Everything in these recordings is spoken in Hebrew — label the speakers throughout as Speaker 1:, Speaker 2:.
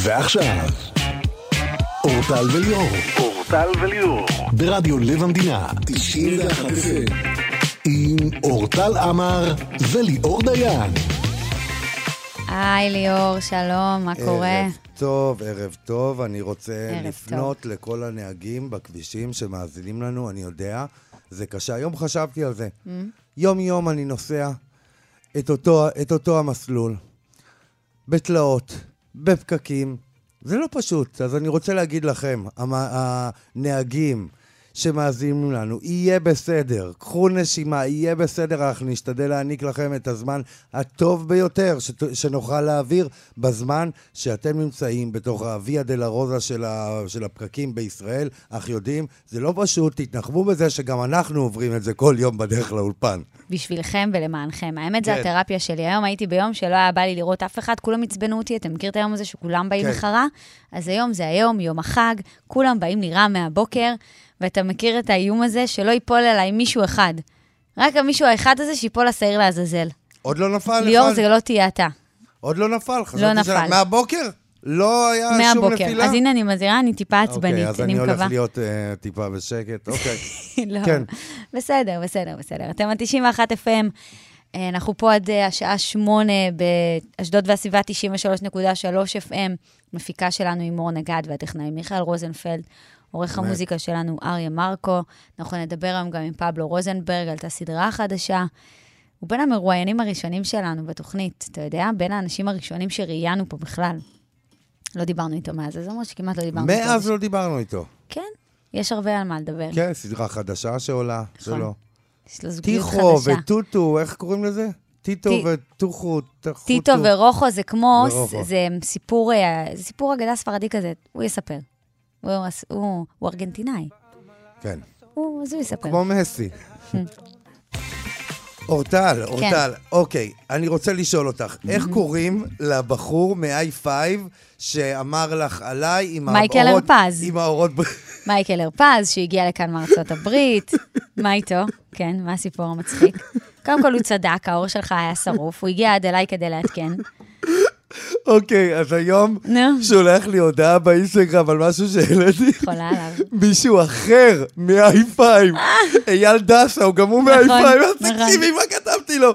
Speaker 1: ועכשיו, אורטל וליאור. אורטל וליאור. ברדיו לב המדינה, 91 FM. עם אורטל עמר וליאור דיין.
Speaker 2: היי ליאור, שלום, מה קורה?
Speaker 3: ערב טוב, ערב טוב. אני רוצה
Speaker 2: ערב
Speaker 3: לפנות טוב. לכל הנהגים בכבישים שמאזינים לנו, אני יודע, זה קשה. היום חשבתי על זה.
Speaker 2: Mm.
Speaker 3: יום-יום אני נוסע את אותו, את אותו המסלול, בתלאות, בפקקים. זה לא פשוט. אז אני רוצה להגיד לכם, המ- הנהגים שמאזינים לנו, יהיה בסדר. קחו נשימה, יהיה בסדר. אנחנו נשתדל להעניק לכם את הזמן הטוב ביותר שת, שנוכל להעביר בזמן שאתם נמצאים בתוך הוויה דלה רוזה של, ה, של הפקקים בישראל. אך יודעים, זה לא פשוט. תתנחמו בזה שגם אנחנו עוברים את זה כל יום בדרך לאולפן.
Speaker 2: בשבילכם ולמענכם. האמת, זו
Speaker 3: כן.
Speaker 2: התרפיה שלי. היום הייתי ביום שלא היה בא לי לראות אף אחד, כולם עצבנו אותי. אתה מכיר את היום הזה שכולם באים
Speaker 3: כן.
Speaker 2: לחרא? אז היום זה היום, יום החג, כולם באים לי רע מהבוקר, ואתה מכיר את האיום הזה שלא ייפול עליי מישהו אחד. רק המישהו האחד הזה שיפול השעיר לעזאזל.
Speaker 3: עוד לא נפל
Speaker 2: ליאור,
Speaker 3: אחד?
Speaker 2: זה לא תהיה אתה.
Speaker 3: עוד לא נפל, חשבתי
Speaker 2: לא
Speaker 3: שלה-
Speaker 2: נפל.
Speaker 3: מהבוקר? לא היה שום
Speaker 2: מהבוקר.
Speaker 3: נפילה?
Speaker 2: אז הנה, אני מזהירה, אני טיפה
Speaker 3: אוקיי,
Speaker 2: עצבנית,
Speaker 3: אז
Speaker 2: אני
Speaker 3: אני הולך
Speaker 2: מקווה.
Speaker 3: להיות אה, טיפה בשקט, אוקיי.
Speaker 2: לא.
Speaker 3: כן.
Speaker 2: בסדר, בסדר, בסדר. אתם על 91 FM, אה, אנחנו פה עד אה, השעה שמונה באשדוד והסביבה 93.3 FM. מפיקה שלנו היא מור נגד והטכנאי מיכאל רוזנפלד. עורך
Speaker 3: אמת.
Speaker 2: המוזיקה שלנו אריה מרקו. אנחנו נדבר היום גם עם פבלו רוזנברג על את הסדרה החדשה. הוא בין המרואיינים הראשונים שלנו בתוכנית, אתה יודע? בין האנשים הראשונים שראיינו פה בכלל. לא דיברנו איתו מאז, אז אמרו שכמעט לא דיברנו איתו.
Speaker 3: מאז לא דיברנו איתו.
Speaker 2: כן, יש הרבה על מה לדבר.
Speaker 3: כן, סדרה חדשה שעולה, שלו.
Speaker 2: יש לו זוגיות
Speaker 3: טיחו
Speaker 2: נכון. חדשה.
Speaker 3: וטוטו, איך קוראים לזה? טיטו
Speaker 2: טי-
Speaker 3: וטוחו, טחוטו.
Speaker 2: טיטו ורוחו זה כמו,
Speaker 3: ורוחו.
Speaker 2: זה סיפור, אה, זה סיפור אגדה ספרדי כזה, הוא יספר. הוא, הוא, הוא ארגנטינאי,
Speaker 3: כן,
Speaker 2: הוא, אז הוא יספר.
Speaker 3: כמו מסי.
Speaker 2: כן.
Speaker 3: אורטל, אורטל, אוקיי, אני רוצה לשאול אותך, איך קוראים לבחור מ-i5 שאמר לך עליי עם
Speaker 2: מייקל
Speaker 3: האורות...
Speaker 2: הרפז.
Speaker 3: עם האורות... ב-
Speaker 2: מייקל הרפז, שהגיע לכאן מארצות הברית, מה איתו? כן, מה הסיפור המצחיק? קודם כל, הוא צדק, העור שלך היה שרוף, הוא הגיע עד אליי כדי לעדכן.
Speaker 3: אוקיי, אז היום
Speaker 2: נו.
Speaker 3: שולח לי הודעה באינסטגרם על משהו שהעליתי.
Speaker 2: חולה עליו.
Speaker 3: מישהו אחר מ-i5, אייל דסה, הוא גם הוא מ-i5,
Speaker 2: נכון,
Speaker 3: אז
Speaker 2: נכון.
Speaker 3: תקשיבי מה כתבתי לו.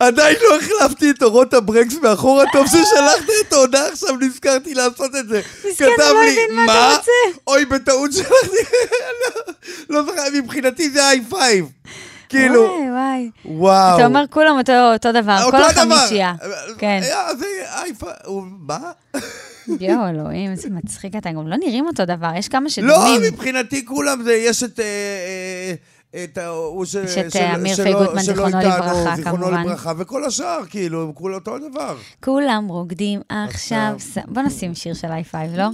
Speaker 3: עדיין לא החלפתי את אורות הברקס מאחורה, טוב ששלחת את ההודעה עכשיו, נזכרתי לעשות את זה.
Speaker 2: מסכן, הוא
Speaker 3: כתב
Speaker 2: לא
Speaker 3: לי,
Speaker 2: הבין מה אתה רוצה."
Speaker 3: אוי, בטעות שלחתי, לא, לא זוכר, מבחינתי זה i5. כאילו,
Speaker 2: וואי, וואי.
Speaker 3: וואו.
Speaker 2: אתה אומר, כולם אותו- אותו דבר,
Speaker 3: אותו
Speaker 2: אה, כל
Speaker 3: הדבר.
Speaker 2: החמישייה. כן.
Speaker 3: אה, זה i5, הוא- מה?
Speaker 2: יואו, אלוהים, איזה מצחיק אתה, גם לא נראים אותו דבר, יש כמה
Speaker 3: לא,
Speaker 2: שדומים.
Speaker 3: מבחינתי כולם זה, יש את... אה, אה, את ההוא ש...
Speaker 2: יש את, אה,
Speaker 3: שלא-
Speaker 2: אמיר
Speaker 3: שלא-
Speaker 2: פייגותמן,
Speaker 3: שלא
Speaker 2: זיכרונו
Speaker 3: איתנו,
Speaker 2: לברכה,
Speaker 3: זיכרונו
Speaker 2: כמובן. כן,
Speaker 3: לברכה, וכל השאר, כאילו, הם כולם אותו דבר.
Speaker 2: כולם רוקדים עכשיו.
Speaker 3: עכשיו.
Speaker 2: ס- בוא נשים שיר של i5, לא?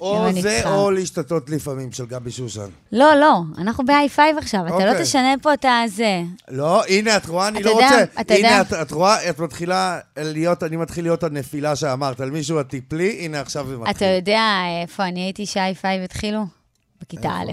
Speaker 3: או
Speaker 2: אני
Speaker 3: זה,
Speaker 2: איתך.
Speaker 3: או להשתתות לפעמים של גבי שושן.
Speaker 2: לא, לא, אנחנו ב-i5 עכשיו, אתה לא
Speaker 3: אוקיי.
Speaker 2: תשנה פה את הזה.
Speaker 3: לא, הנה, את רואה, אני
Speaker 2: אתה
Speaker 3: לא
Speaker 2: יודע,
Speaker 3: רוצה.
Speaker 2: אתה יודע.
Speaker 3: הנה, את- את רואה, את מתחילה להיות, אני מתחיל להיות הנפילה שאמרת, על מישהו הטיפלי, הנה, עכשיו זה מתחיל.
Speaker 2: אתה יודע איפה אני הייתי ש-i5 התחילו? בכיתה א'.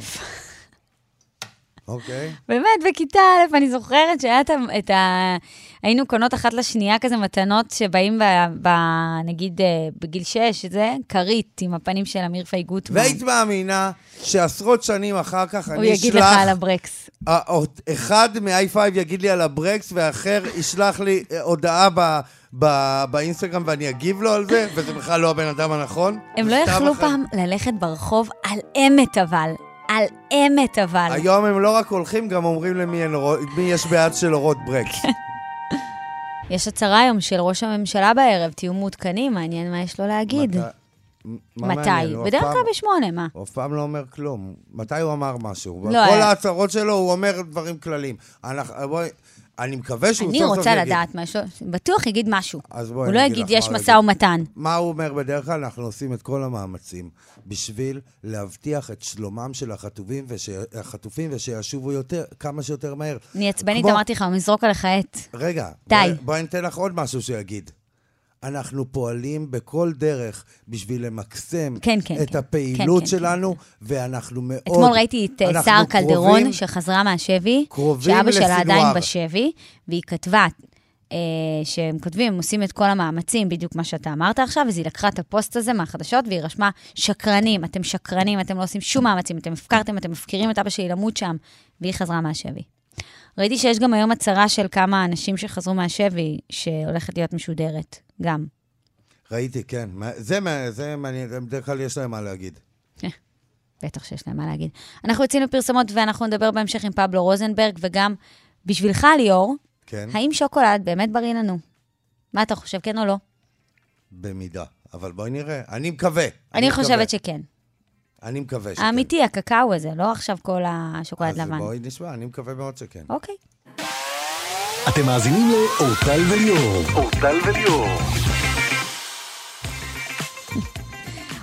Speaker 3: אוקיי.
Speaker 2: באמת, בכיתה א', אני זוכרת שהיה את ה- את ה... היינו קונות אחת לשנייה כזה מתנות שבאים, ב- ב- נגיד, אה, בגיל 6, זה כרית עם הפנים של אמיר פי גוטמן.
Speaker 3: והיית מאמינה שעשרות שנים אחר כך
Speaker 2: הוא
Speaker 3: אני אשלח...
Speaker 2: יגיד לך על הברקס.
Speaker 3: האות- אה, אחד מ-i5 יגיד לי על הברקס, והאחר ישלח לי אה, הודעה ב... ב- באינסטגרם ואני אגיב לו על זה, וזה בכלל לא הבן אדם הנכון.
Speaker 2: הם לא
Speaker 3: זה סתם
Speaker 2: יכלו
Speaker 3: אחר.
Speaker 2: פעם ללכת ברחוב על אמת אבל. על אמת אבל.
Speaker 3: היום הם לא רק הולכים, גם אומרים למי אין אורות- מי יש בעד של אורות ברקס.
Speaker 2: יש הצהרה היום של ראש הממשלה בערב, תהיו מעודכנים, מעניין מה יש לו להגיד.
Speaker 3: מתי- מה מעניין?
Speaker 2: מתי?
Speaker 3: הוא אף
Speaker 2: בדרך
Speaker 3: פעם-
Speaker 2: כלל בשמונה, מה?
Speaker 3: הוא אף פעם לא אומר כלום. מתי הוא אמר משהו?
Speaker 2: לא
Speaker 3: בכל
Speaker 2: היה.
Speaker 3: ההצהרות שלו הוא אומר דברים כלליים. אנחנו- בואי- אני מקווה שהוא סוף
Speaker 2: אני
Speaker 3: סוף יגיד.
Speaker 2: רוצה לדעת משהו, בטוח יגיד משהו.
Speaker 3: אז בואי
Speaker 2: הוא
Speaker 3: אני
Speaker 2: לא
Speaker 3: אגיד
Speaker 2: יגיד,
Speaker 3: לך
Speaker 2: יש
Speaker 3: מה הוא
Speaker 2: משא
Speaker 3: יגיד."
Speaker 2: ומתן.
Speaker 3: מה הוא אומר בדרך כלל? אנחנו עושים את כל המאמצים בשביל להבטיח את שלומם של החטופים, וש... החטופים ושישובו יותר, כמה שיותר מהר.
Speaker 2: אני עצבנית,
Speaker 3: כמו-
Speaker 2: אמרתי לך, הוא יזרוק עליך עט.
Speaker 3: רגע,
Speaker 2: די.
Speaker 3: בואי בוא אני אתן לך עוד משהו שיגיד. אנחנו פועלים בכל דרך בשביל למקסם
Speaker 2: כן, כן,
Speaker 3: את
Speaker 2: כן.
Speaker 3: הפעילות
Speaker 2: כן, כן,
Speaker 3: שלנו, ואנחנו מאוד...
Speaker 2: אתמול ראיתי את אה,
Speaker 3: אנחנו
Speaker 2: סער
Speaker 3: קרובים-
Speaker 2: קלדרון, שחזרה מהשבי,
Speaker 3: קרובים
Speaker 2: שאבא שלה
Speaker 3: לסנוואר.
Speaker 2: עדיין בשבי, והיא כתבה, אה, שהם כותבים, הם עושים את כל המאמצים, בדיוק מה שאתה אמרת עכשיו, אז היא לקחה את הפוסט הזה מהחדשות והיא רשמה, שקרנים, אתם שקרנים, אתם לא עושים שום מאמצים, אתם הפקרתם, אתם מפקירים את אבא שלי למות שם, והיא חזרה מהשבי. ראיתי שיש גם היום הצהרה של כמה אנשים שחזרו מהשבי, שהולכת להיות משודרת, גם.
Speaker 3: ראיתי, כן. מה- זה, מה- זה מעניין, הם בדרך כלל יש להם מה להגיד.
Speaker 2: בטח שיש להם מה להגיד. אנחנו יוצאים לפרסומות ואנחנו נדבר בהמשך עם פבלו רוזנברג, וגם בשבילך, ליאור,
Speaker 3: כן,
Speaker 2: האם שוקולד באמת בריא לנו? מה אתה חושב, כן או לא?
Speaker 3: במידה. אבל בואי נראה. אני מקווה.
Speaker 2: אני
Speaker 3: מקווה.
Speaker 2: חושבת שכן.
Speaker 3: אני מקווה שכן.
Speaker 2: האמיתי, הקקאו הזה, לא עכשיו כל השוקולד
Speaker 3: אז
Speaker 2: לבן.
Speaker 3: בואי נשמע, אני מקווה מאוד שכן.
Speaker 2: אוקיי.
Speaker 1: אתם מאזינים לאורטל וליאור. אורטל וליאור.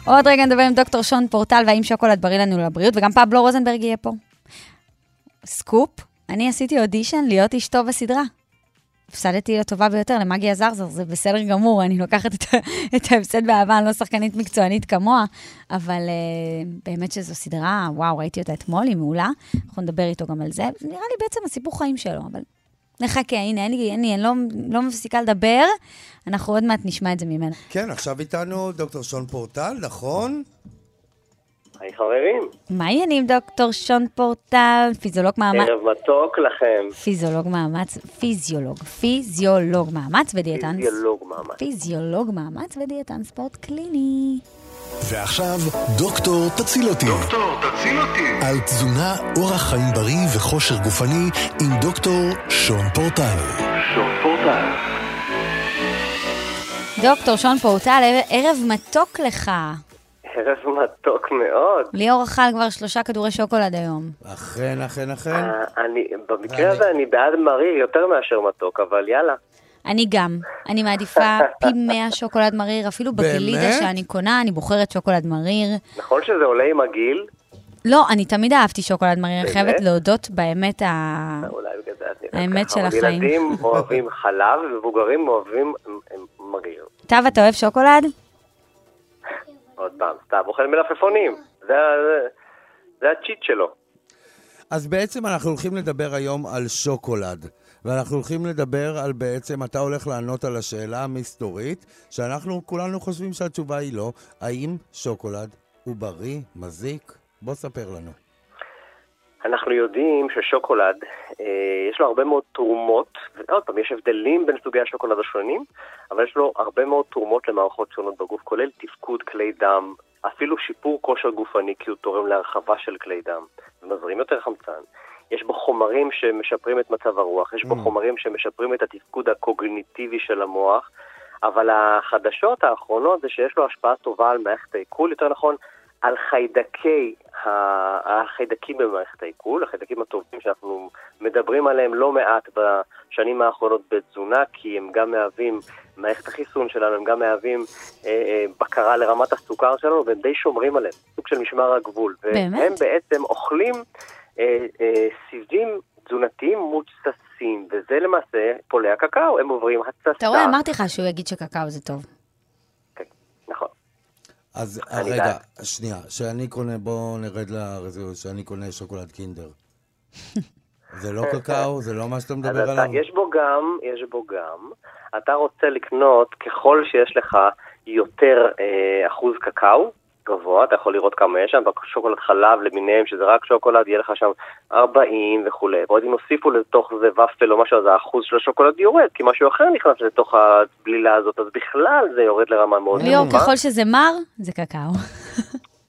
Speaker 2: עוד רגע נדבר עם דוקטור שון פורטל, והאם שוקולד בריא לנו לבריאות, וגם פבלו רוזנברג יהיה פה. סקופ, אני עשיתי אודישן להיות אשתו בסדרה. הפסדתי לטובה ביותר, למאגי עזרזר, זה בסדר גמור, אני לוקחת את, ה- את ההפסד באהבה, אני לא שחקנית מקצוענית כמוה, אבל uh, באמת שזו סדרה, וואו, ראיתי אותה אתמול, היא מעולה, אנחנו נדבר איתו גם על זה. זה נראה לי בעצם הסיפור חיים שלו, אבל נחכה, הנה, אין לי, אין לי, אני לא, לא מפסיקה לדבר, אנחנו עוד מעט נשמע את זה ממנה.
Speaker 3: כן, עכשיו איתנו דוקטור שון פורטל, נכון?
Speaker 4: היי חברים,
Speaker 2: מה העניינים דוקטור שון פורטל? פיזיולוג מאמץ,
Speaker 4: ערב מתוק לכם.
Speaker 2: פיזיולוג מאמץ, פיזיולוג, פיזיולוג מאמץ ודיאטן.
Speaker 4: דיאלוג ממש.
Speaker 2: פיזיולוג מאמץ ודיאטן ספורט קליני.
Speaker 1: ועכשיו, דוקטור תציל אותי. דוקטור תציל אותי. על תזונה, אורח חיים בריא וכושר גופני עם דוקטור שון פורטל.
Speaker 2: דוקטור שון פורטל, ערב- ערב מתוק לך.
Speaker 4: ערב מתוק מאוד.
Speaker 2: ליאור אכל כבר שלושה כדורי שוקולד היום.
Speaker 3: אכן, אכן, אכן.
Speaker 4: אה, אני, במקרה הזה אני בעד מריר יותר מאשר מתוק, אבל יאללה.
Speaker 2: אני גם. אני מעדיפה פי 100 שוקולד מריר, אפילו
Speaker 3: באמת?
Speaker 2: בגלידה שאני קונה, אני בוחרת שוקולד מריר.
Speaker 4: נכון שזה עולה עם הגיל,
Speaker 2: לא, אני תמיד אהבתי שוקולד מריר, אני חייבת
Speaker 4: באמת?
Speaker 2: להודות באמת ה...
Speaker 4: אולי בגלל זה את נראית
Speaker 2: האמת
Speaker 4: ככה.
Speaker 2: של
Speaker 4: אבל
Speaker 2: החיים.
Speaker 4: ילדים אוהבים חלב, ומבוגרים אוהבים מ- מ- מריר.
Speaker 2: טב, אתה אוהב
Speaker 4: לא.
Speaker 2: שוקולד?
Speaker 4: עוד פעם, סתם אוכל מלפפונים. זה ה- זה- זה הצ'יט שלו.
Speaker 3: אז בעצם אנחנו הולכים לדבר היום על שוקולד. ואנחנו הולכים לדבר על בעצם, אתה הולך לענות על השאלה המסתורית, שאנחנו כולנו חושבים שהתשובה היא לא. האם שוקולד הוא בריא, מזיק? בוא ספר לנו.
Speaker 4: אנחנו יודעים ששוקולד, אה, יש לו הרבה מאוד תרומות, ועוד פעם, יש הבדלים בין סוגי השוקולד השונים, אבל יש לו הרבה מאוד תרומות למערכות שונות בגוף, כולל תפקוד כלי דם, אפילו שיפור כושר גופני, כי הוא תורם להרחבה של כלי דם, ומזרים יותר חמצן. יש בו חומרים שמשפרים את מצב הרוח, יש בו חומרים שמשפרים את התפקוד הקוגניטיבי של המוח, אבל החדשות האחרונות זה שיש לו השפעה טובה על מערכת העיכול, יותר נכון, על חיידקי, ה- החיידקים במערכת העיכול, החיידקים הטובים שאנחנו מדברים עליהם לא מעט בשנים האחרונות בתזונה, כי הם גם מהווים, מערכת החיסון שלנו, הם גם מהווים אה, אה, בקרה לרמת הסוכר שלנו, והם די שומרים עליהם, סוג של משמר הגבול. והם
Speaker 2: באמת?
Speaker 4: בעצם אוכלים אה, אה, סיבים תזונתיים מותססים, וזה למעשה פולי הקקאו, הם עוברים התססה.
Speaker 2: אתה רואה, אמרתי לך שהוא יגיד שקקאו זה טוב.
Speaker 4: כן, נכון.
Speaker 3: אז
Speaker 4: אני
Speaker 3: רגע,
Speaker 4: בעד.
Speaker 3: שנייה, שאני קונה, בואו נרד לרזולוציה, שאני קונה שוקולד קינדר. זה לא קקאו, זה לא מה שאתה
Speaker 4: אז
Speaker 3: מדבר
Speaker 4: אתה,
Speaker 3: עליו.
Speaker 4: יש בו גם, יש בו גם, אתה רוצה לקנות ככל שיש לך יותר אה, אחוז קקאו גבוה, אתה יכול לראות כמה יש שם, בשוקולד חלב למיניהם, שזה רק שוקולד, יהיה לך שם 40 וכולי. ועוד אם הוסיפו לתוך זה ופל או משהו, אז האחוז של השוקולד יורד, כי משהו אחר נכנס לתוך הבלילה הזאת, אז בכלל זה יורד לרמה מאוד
Speaker 2: ליאור,
Speaker 4: נמוכה.
Speaker 2: ככל שזה מר, זה קקאו.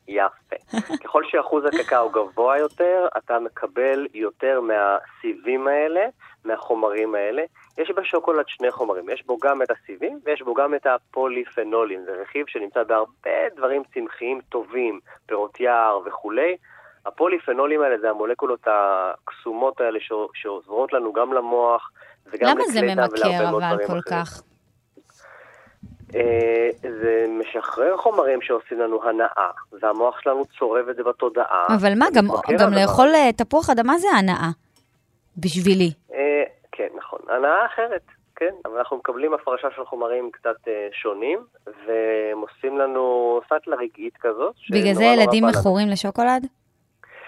Speaker 4: יפה. ככל שאחוז הקקאו גבוה יותר, אתה מקבל יותר מהסיבים האלה, מהחומרים האלה. יש בשוקולד שני חומרים, יש בו גם את הסיבים ויש בו גם את הפוליפנולים. זה רכיב שנמצא בהרבה דברים צמחיים טובים, פירות יער וכולי. הפוליפנולים האלה זה המולקולות הקסומות האלה שעו- שעוזרות לנו גם למוח וגם
Speaker 2: למה זה
Speaker 4: לכלי דם ולהרבה
Speaker 2: ממכר
Speaker 4: מאוד
Speaker 2: אבל
Speaker 4: דברים
Speaker 2: כל
Speaker 4: אחרים.
Speaker 2: כך?
Speaker 4: אה, זה משחרר חומרים שעושים לנו הנאה, והמוח שלנו צורב את זה בתודעה.
Speaker 2: אבל מה,
Speaker 4: אה, זה נכון.
Speaker 2: גם-
Speaker 4: מתמכר
Speaker 2: גם
Speaker 4: לדבר.
Speaker 2: לאכול אה, תפוח אדמה זה הנאה. בשבילי.
Speaker 4: אה, כן, נכון. הנאה אחרת, כן. אבל אנחנו מקבלים הפרשה של חומרים קצת אה, שונים, והם עושים לנו סטלה רגעית כזאת.
Speaker 2: בגלל
Speaker 4: שנורא
Speaker 2: זה
Speaker 4: נורא
Speaker 2: ילדים
Speaker 4: בא לנו.
Speaker 2: מכורים לשוקולד?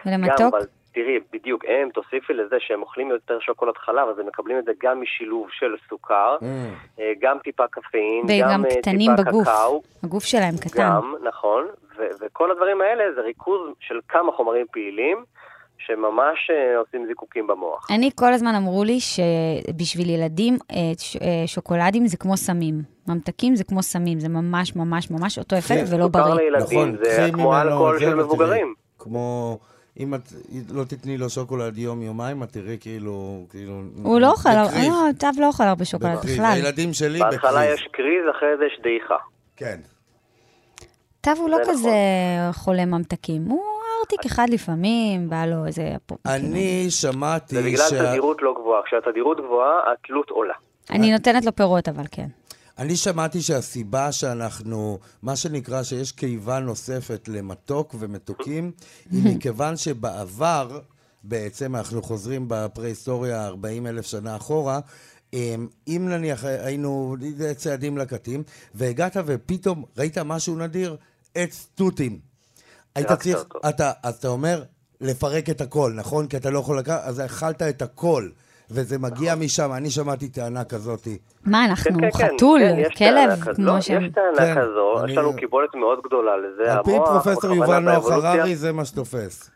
Speaker 4: גם,
Speaker 2: ולמתוק?
Speaker 4: אבל תראי, בדיוק, הם, תוסיפי לזה שהם אוכלים יותר שוקולד חלב, אז הם מקבלים את זה גם משילוב של סוכר, אה, גם טיפה קפאין,
Speaker 2: וגם
Speaker 4: אה,
Speaker 2: קטנים
Speaker 4: טיפה
Speaker 2: בגוף.
Speaker 4: קקאו,
Speaker 2: הגוף שלהם קטן.
Speaker 4: גם, נכון, ו- וכל הדברים האלה זה ריכוז של כמה חומרים פעילים, שממש אה, עושים זיקוקים במוח.
Speaker 2: אני כל הזמן אמרו לי שבשביל ילדים אה, ש- אה, שוקולדים זה כמו סמים. ממתקים זה כמו סמים, זה ממש ממש ממש אותו אפקט ולא
Speaker 4: סוכר
Speaker 2: בריא.
Speaker 4: לילדים, זה
Speaker 3: נכון, קחי
Speaker 4: כמו
Speaker 3: ממנו
Speaker 4: אלכוהול
Speaker 3: זה
Speaker 4: של
Speaker 3: ותראי.
Speaker 4: מבוגרים.
Speaker 3: כמו, אם את לא תתני לו שוקולד יום-יומיים, את תראי כאילו... כאילו
Speaker 2: הוא לא אוכל,
Speaker 3: בקריב,
Speaker 2: לא, טב לא אוכל הרבה שוקולד
Speaker 3: בקריב.
Speaker 2: בכלל.
Speaker 3: הילדים שלי
Speaker 4: בהתחלה
Speaker 3: בקריב.
Speaker 4: יש קריז, אחרי זה יש דעיכה.
Speaker 3: כן.
Speaker 2: טב הוא לא
Speaker 4: זה נכון.
Speaker 2: כזה חולה ממתקים, הוא ארטיק אחד לפעמים, בא לו איזה... אפו-
Speaker 3: אה, אני שמעתי
Speaker 4: כן. זה בגלל
Speaker 3: שה-
Speaker 4: תדירות לא גבוהה. כשהתדירות גבוהה, התלות עולה.
Speaker 2: אני נותנת לו פירות, אבל כן.
Speaker 3: אני שמעתי שהסיבה שאנחנו, מה שנקרא שיש קיבה נוספת למתוק ומתוקים, היא מכיוון שבעבר, בעצם אנחנו חוזרים בפרה-היסטוריה 40 אלף שנה אחורה, אמ, אם נניח היינו צעדים לקטים, והגעת ופתאום ראית משהו נדיר, עץ תותים. היית
Speaker 4: פירקת
Speaker 3: צריך,
Speaker 4: אותו.
Speaker 3: אתה, אז אתה אומר, לפרק את הכל, נכון? כי אתה לא יכול לקחת, אז אכלת את הכל, וזה מגיע משם. אני שמעתי טענה כזאתי.
Speaker 2: מה, אנחנו
Speaker 4: כן, כן,
Speaker 2: חתול,
Speaker 4: כן, יש טענה
Speaker 2: כלב,
Speaker 4: כזו.
Speaker 2: כמו
Speaker 4: לא,
Speaker 2: שהם...
Speaker 4: יש
Speaker 3: כן,
Speaker 4: טענה כזו,
Speaker 3: אני-
Speaker 4: יש לנו קיבולת מאוד גדולה לזה.
Speaker 3: על פי
Speaker 4: המוח,
Speaker 3: פרופסור
Speaker 4: בכוונה
Speaker 3: יובל נוח
Speaker 4: באבולוציה-
Speaker 3: הררי זה מה שתופס.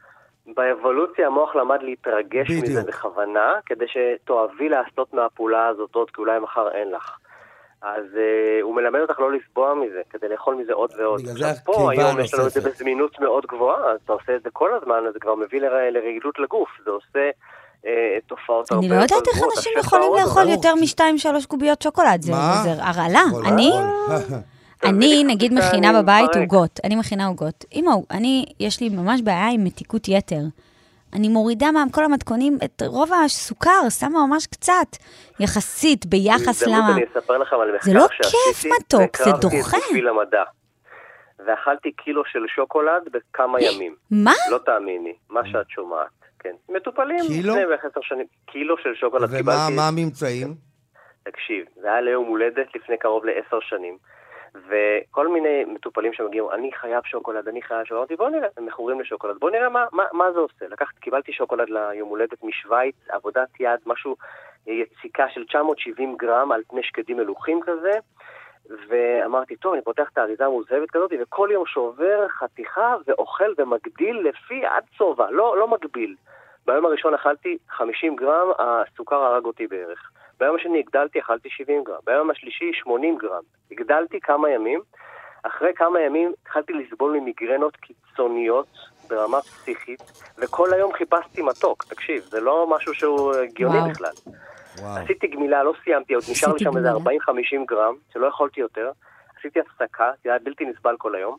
Speaker 4: באבולוציה המוח למד להתרגש
Speaker 3: בדיוק.
Speaker 4: מזה בכוונה, כדי שתאהבי לעשות מהפעולה הזאת עוד, כי אולי מחר אין לך. אז אה, הוא מלמד אותך לא לסבוע מזה, כדי לאכול מזה עוד ועוד.
Speaker 3: בגלל זה
Speaker 4: עכשיו פה
Speaker 3: הקיבה
Speaker 4: היום יש לנו את זה
Speaker 3: הנוספת.
Speaker 4: בזמינות מאוד גבוהה, אז אתה עושה את זה כל הזמן, אז זה כבר מביא ל- לרעילות לגוף, זה עושה אה, תופעות הרבה
Speaker 2: אני
Speaker 4: יותר
Speaker 2: לא
Speaker 4: גבוהות.
Speaker 2: יודעת איך אנשים
Speaker 4: השפע
Speaker 2: יכולים
Speaker 4: עוד
Speaker 2: לאכול
Speaker 4: עולה.
Speaker 2: יותר משתיים, שלוש קוביות שוקולד. זה
Speaker 3: מה? לא,
Speaker 2: זה הרעלה.
Speaker 3: יכול
Speaker 2: אה, אני, אה.
Speaker 3: לאכול.
Speaker 2: אני
Speaker 4: תביא לי
Speaker 2: נגיד
Speaker 4: חקיקה,
Speaker 2: מכינה
Speaker 4: אני
Speaker 2: בבית
Speaker 4: מפרק.
Speaker 2: עוגות. אני מכינה עוגות. אמא, אני, יש לי ממש בעיה עם מתיקות יתר. אני מורידה מכל המתכונים את רוב הסוכר, שמה ממש קצת, יחסית, ביחס
Speaker 4: בהזדמנות
Speaker 2: למה.
Speaker 4: אני אספר לכם על מחקר
Speaker 2: זה לא
Speaker 4: שעשיתי,
Speaker 2: כיף מתוק, זה
Speaker 4: והקרבתי
Speaker 2: דוחה.
Speaker 4: את בשביל המדע. ואכלתי קילו של שוקולד
Speaker 2: אה?
Speaker 4: בכמה ימים.
Speaker 2: מה?
Speaker 4: לא תאמיני, מה שאת שומעת, כן. מטופלים
Speaker 3: קילו?
Speaker 4: לפני בערך עשר שנים. קילו של שוקולד
Speaker 3: ומה
Speaker 4: קיבלתי,
Speaker 3: מה הממצאים?
Speaker 4: תקשיב, זה היה ליום הולדת לפני קרוב לעשר שנים. וכל מיני מטופלים שמגיעים, אני חייב שוקולד, אני חייב שוקולד, אמרתי בוא נראה, הם מכורים לשוקולד, בוא נראה מה, מה, מה זה עושה. לקחת, קיבלתי שוקולד ליום הולדת משוויץ, עבודת יד, משהו, אה, יציקה של 970 גרם על פני שקדים מלוכים כזה, ואמרתי, טוב, אני פותח את האריזה המוזהבת כזאת, וכל יום שובר חתיכה ואוכל ומגדיל לפי עד צובע, לא, לא מגביל. ביום הראשון אכלתי 50 גרם, הסוכר הרג אותי בערך. ביום השני הגדלתי, אכלתי 70 גרם. ביום השלישי, 80 גרם. הגדלתי כמה ימים. אחרי כמה ימים התחלתי לסבול ממיגרנות קיצוניות ברמה פסיכית, וכל היום חיפשתי מתוק. תקשיב, זה לא משהו שהוא
Speaker 2: וואו.
Speaker 4: הגיוני בכלל.
Speaker 3: וואו.
Speaker 4: עשיתי גמילה, לא סיימתי, עוד נשאר לי
Speaker 2: עשיתי
Speaker 4: שם איזה
Speaker 2: גמילה.
Speaker 4: 40-50 גרם, שלא יכולתי יותר. עשיתי הפסקה, זה היה בלתי נסבל כל היום.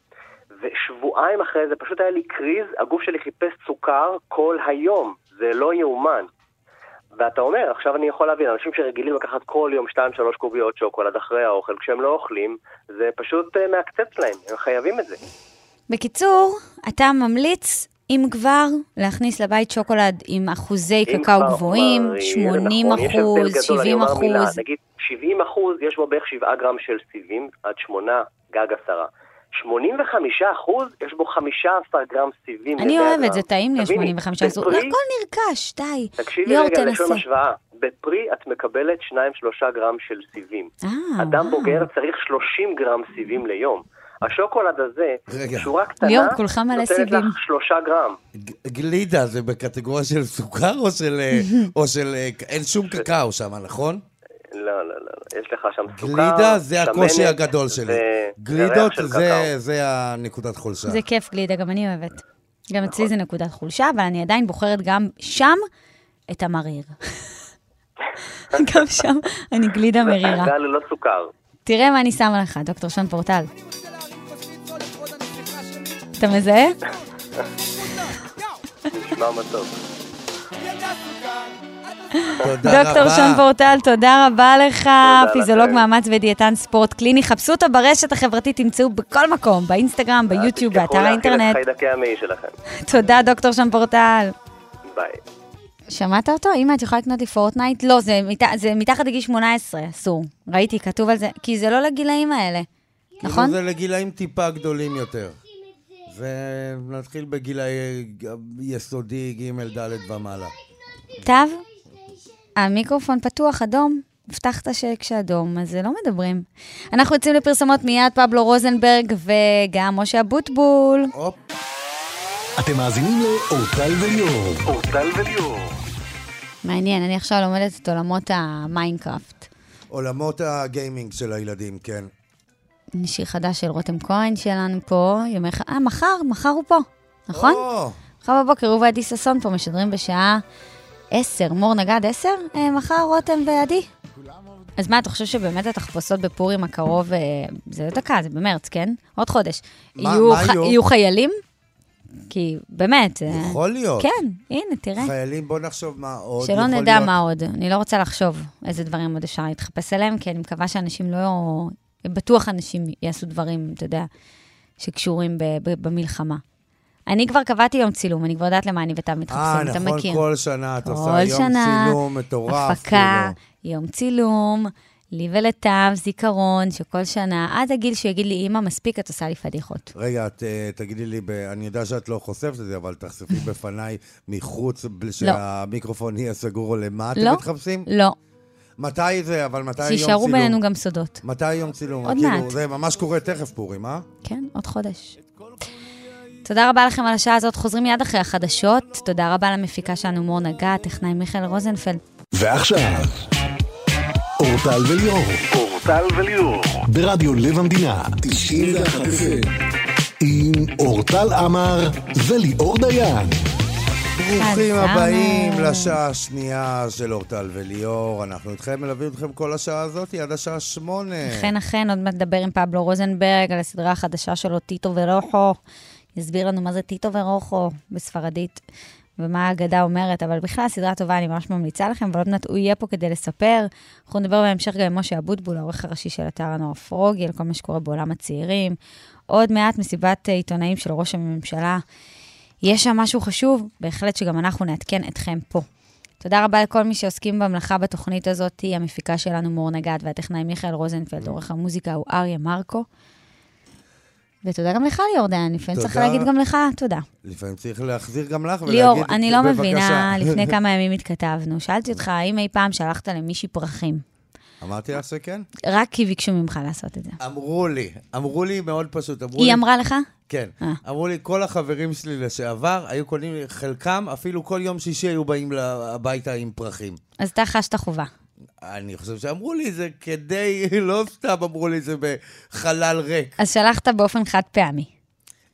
Speaker 4: ושבועיים אחרי זה פשוט היה לי קריז, הגוף שלי חיפש סוכר כל היום. זה לא יאומן. ואתה אומר, עכשיו אני יכול להבין, אנשים שרגילים לקחת כל יום 2-3 קוביות שוקולד אחרי האוכל, כשהם לא אוכלים, זה פשוט אה, מעקצץ להם, הם חייבים את זה.
Speaker 2: בקיצור, אתה ממליץ, אם כבר, להכניס לבית שוקולד עם אחוזי
Speaker 4: אם
Speaker 2: קקאו
Speaker 4: כבר
Speaker 2: גבוהים,
Speaker 4: מראים,
Speaker 2: 80
Speaker 4: נכון, יש הבדל
Speaker 2: אחוז,
Speaker 4: גדול, אני
Speaker 2: 70
Speaker 4: אומר מילה,
Speaker 2: אחוז.
Speaker 4: נגיד 70 אחוז, יש בו בערך 7 גרם של סיבים, עד 8 גג 10. 85 אחוז, יש בו 15 גרם סיבים.
Speaker 2: אני
Speaker 4: ל-100
Speaker 2: אוהבת, זה
Speaker 4: גרם.
Speaker 2: טעים לי,
Speaker 4: תביני,
Speaker 2: 85 אחוז. הכל
Speaker 4: בפרי-
Speaker 2: נרכש, די.
Speaker 4: תקשיבי
Speaker 2: ליאור,
Speaker 4: רגע, לשון
Speaker 2: נכון. תנסה.
Speaker 4: השוואה, בפרי את מקבלת 2-3 גרם של סיבים.
Speaker 2: אה,
Speaker 4: אדם
Speaker 2: וואו.
Speaker 4: בוגר צריך 30 גרם סיבים ליום. השוקולד הזה,
Speaker 3: רגע.
Speaker 4: שורה קטנה,
Speaker 2: ליאור, כולך מלא
Speaker 4: נותנת
Speaker 2: סיבים.
Speaker 4: לך 3 גרם.
Speaker 3: ג- גלידה זה בקטגוריה של סוכר או של... אה, או של... אה, ק- אין שום קקאו שם, נכון?
Speaker 4: לא, לא, לא, לא, יש לך שם סוכר,
Speaker 3: גלידה זה הקושי
Speaker 4: שמנת,
Speaker 3: הגדול שלי.
Speaker 4: ו-
Speaker 3: גלידות
Speaker 4: וריח של
Speaker 3: זה-
Speaker 4: קקאו.
Speaker 3: זה הנקודת חולשה.
Speaker 2: זה כיף גלידה, גם אני אוהבת. גם אצלי
Speaker 4: נכון.
Speaker 2: זה נקודת חולשה, אבל אני עדיין בוחרת גם שם את המריר. גם שם אני גלידה מרירה.
Speaker 4: זה ללא סוכר.
Speaker 2: תראה מה אני שמה לך, דוקטור שון פורטל. אתה מזהה?
Speaker 4: נשמע מתוק.
Speaker 3: תודה
Speaker 2: דוקטור
Speaker 3: רבה.
Speaker 2: שון פורטל, תודה רבה לך,
Speaker 4: תודה
Speaker 2: פיזיולוג
Speaker 4: לכם.
Speaker 2: מאמץ ודיאטן ספורט קליני. חפשו אותו ברשת החברתית, תמצאו בכל מקום, באינסטגרם, ביוטיוב,
Speaker 4: תשכחו
Speaker 2: באתר
Speaker 4: להכין את
Speaker 2: האינטרנט.
Speaker 4: חיידקי המעי שלכם.
Speaker 2: תודה, דוקטור שון פורטל.
Speaker 4: ביי.
Speaker 2: שמעת אותו? אמא, את יכולה לקנות לי פורטנייט? לא, זה, מת... זה מתחת לגיל 18, אסור. ראיתי, כתוב על זה, כי זה לא לגילאים האלה,
Speaker 3: כאילו
Speaker 2: נכון?
Speaker 3: זה לגילאים טיפה גדולים יותר. ונתחיל בגילאי יסודי, ג', ד' ומעלה.
Speaker 2: טב, המיקרופון פתוח, אדום. הבטחת שכשאדום, אז לא מדברים. אנחנו יוצאים לפרסומות מיד, פבלו רוזנברג וגם משה אבוטבול.
Speaker 3: הופ.
Speaker 1: אתם מאזינים לאורטל וליאור.
Speaker 4: אורטל וליאור.
Speaker 2: מעניין, אני עכשיו לומדת את עולמות המיינקראפט.
Speaker 3: עולמות הגיימינג של הילדים, כן.
Speaker 2: שיר חדש של רותם כהן שלנו פה, יומי ח... אה, מחר, מחר הוא פה, נכון?
Speaker 3: או,
Speaker 2: מחר בבוקר הוא ועדי ששון פה משדרים בשעה 10. מור נגד 10? אה, מחר רותם ועדי. אז מה, אתה חושב שבאמת התחפושות בפורים הקרוב, אה, זה לא דקה, זה במרץ, כן? עוד חודש.
Speaker 3: מה-
Speaker 2: יהיו,
Speaker 3: מה
Speaker 2: ח...
Speaker 3: יהיו?
Speaker 2: יהיו חיילים? כי באמת... אה,
Speaker 3: יכול להיות.
Speaker 2: כן, הנה, תראה.
Speaker 3: חיילים, בוא נחשוב מה עוד
Speaker 2: שלא
Speaker 3: יכול
Speaker 2: נדע
Speaker 3: להיות.
Speaker 2: מה עוד. אני לא רוצה לחשוב איזה דברים עוד אפשר להתחפש עליהם, כי אני מקווה שאנשים לא... בטוח אנשים יעשו דברים, אתה יודע, שקשורים ב- ב- במלחמה. אני כבר קבעתי יום צילום, אני כבר יודעת למה אני ותב מתחפשים,
Speaker 3: אה,
Speaker 2: אתה
Speaker 3: נכון,
Speaker 2: מכיר.
Speaker 3: כל שנה את עושה
Speaker 2: כל
Speaker 3: יום
Speaker 2: שנה,
Speaker 3: צילום מטורף.
Speaker 2: הפקה,
Speaker 3: כאילו.
Speaker 2: יום צילום, לי ולתו, זיכרון, שכל שנה, עד הגיל שהוא יגיד לי, אמא, מספיק, את עושה לי פדיחות.
Speaker 3: רגע, את אה, תגידי לי, ב- אני יודע שאת לא חושפת את זה, אבל תחשפי בפניי מחוץ, בלי שהמיקרופון יהיה סגור, למה אתם
Speaker 2: לא.
Speaker 3: מתחפשים?
Speaker 2: לא,
Speaker 3: מתי זה, אבל מתי יום צילום?
Speaker 2: שיישארו בינינו גם סודות.
Speaker 3: מתי יום צילום?
Speaker 2: עוד
Speaker 3: כאילו,
Speaker 2: מעט.
Speaker 3: זה ממש קורה תכף פורים, אה?
Speaker 2: כן, עוד חודש. תודה רבה לכם על השעה הזאת, חוזרים מיד אחרי החדשות. תודה רבה למפיקה שלנו מור נגה, הטכנאי מיכאל רוזנפלד.
Speaker 1: ועכשיו, אורטל וליאור,
Speaker 4: אורטל וליאור.
Speaker 1: ברדיו לב המדינה, 91 FM. עם אורטל עמר וליאור דיין.
Speaker 3: ברוכים
Speaker 2: חזרנו.
Speaker 3: הבאים לשעה השנייה של אורטל וליאור. אנחנו איתכם, מלווים אתכם כל השעה הזאת, עד השעה שמונה.
Speaker 2: אכן, אכן, עוד מעט נדבר עם פבלו רוזנברג על הסדרה החדשה שלו, טיטו ורוחו. יסביר לנו מה זה טיטו ורוחו בספרדית, ומה האגדה אומרת, אבל בכלל, סדרה טובה, אני ממש ממליצה לכם, ועוד מעט הוא יהיה פה כדי לספר. אנחנו נדבר בהמשך גם עם משה אבוטבול, העורך הראשי של אתר הנוער פרוגי, על כל מה שקורה בעולם הצעירים. עוד מעט מסיבת אה, עיתונאים של ראש הממשלה. יש שם משהו חשוב, בהחלט שגם אנחנו נעדכן אתכם פה. תודה רבה לכל מי שעוסקים במלאכה בתוכנית הזאת, המפיקה שלנו מור נגד והטכנאי מיכאל רוזנפלד, עורך המוזיקה הוא אריה מרקו. ותודה גם לך, ליאור דיין, לפעמים צריך
Speaker 3: תודה.
Speaker 2: להגיד גם לך תודה.
Speaker 3: לפעמים צריך להחזיר גם לך ולהגיד,
Speaker 2: ליאור, אני לא
Speaker 3: "בבקשה".
Speaker 2: מבינה, לפני כמה ימים התכתבנו, שאלתי אותך האם אי פעם שלחת למישהי פרחים,
Speaker 3: אמרתי לך שכן?
Speaker 2: רק כי ביקשו ממך לעשות את זה.
Speaker 3: אמרו לי, אמרו לי מאוד פשוט, אמרו לי...
Speaker 2: היא אמרה לך?
Speaker 3: כן.
Speaker 2: אה.
Speaker 3: אמרו לי, כל החברים שלי לשעבר היו קונים לי, חלקם אפילו כל יום שישי היו באים הביתה עם פרחים.
Speaker 2: אז אתה חשת חובה.
Speaker 3: אני חושב שאמרו לי זה כדי, לא סתם אמרו לי זה בחלל ריק.
Speaker 2: אז שלחת באופן חד פעמי.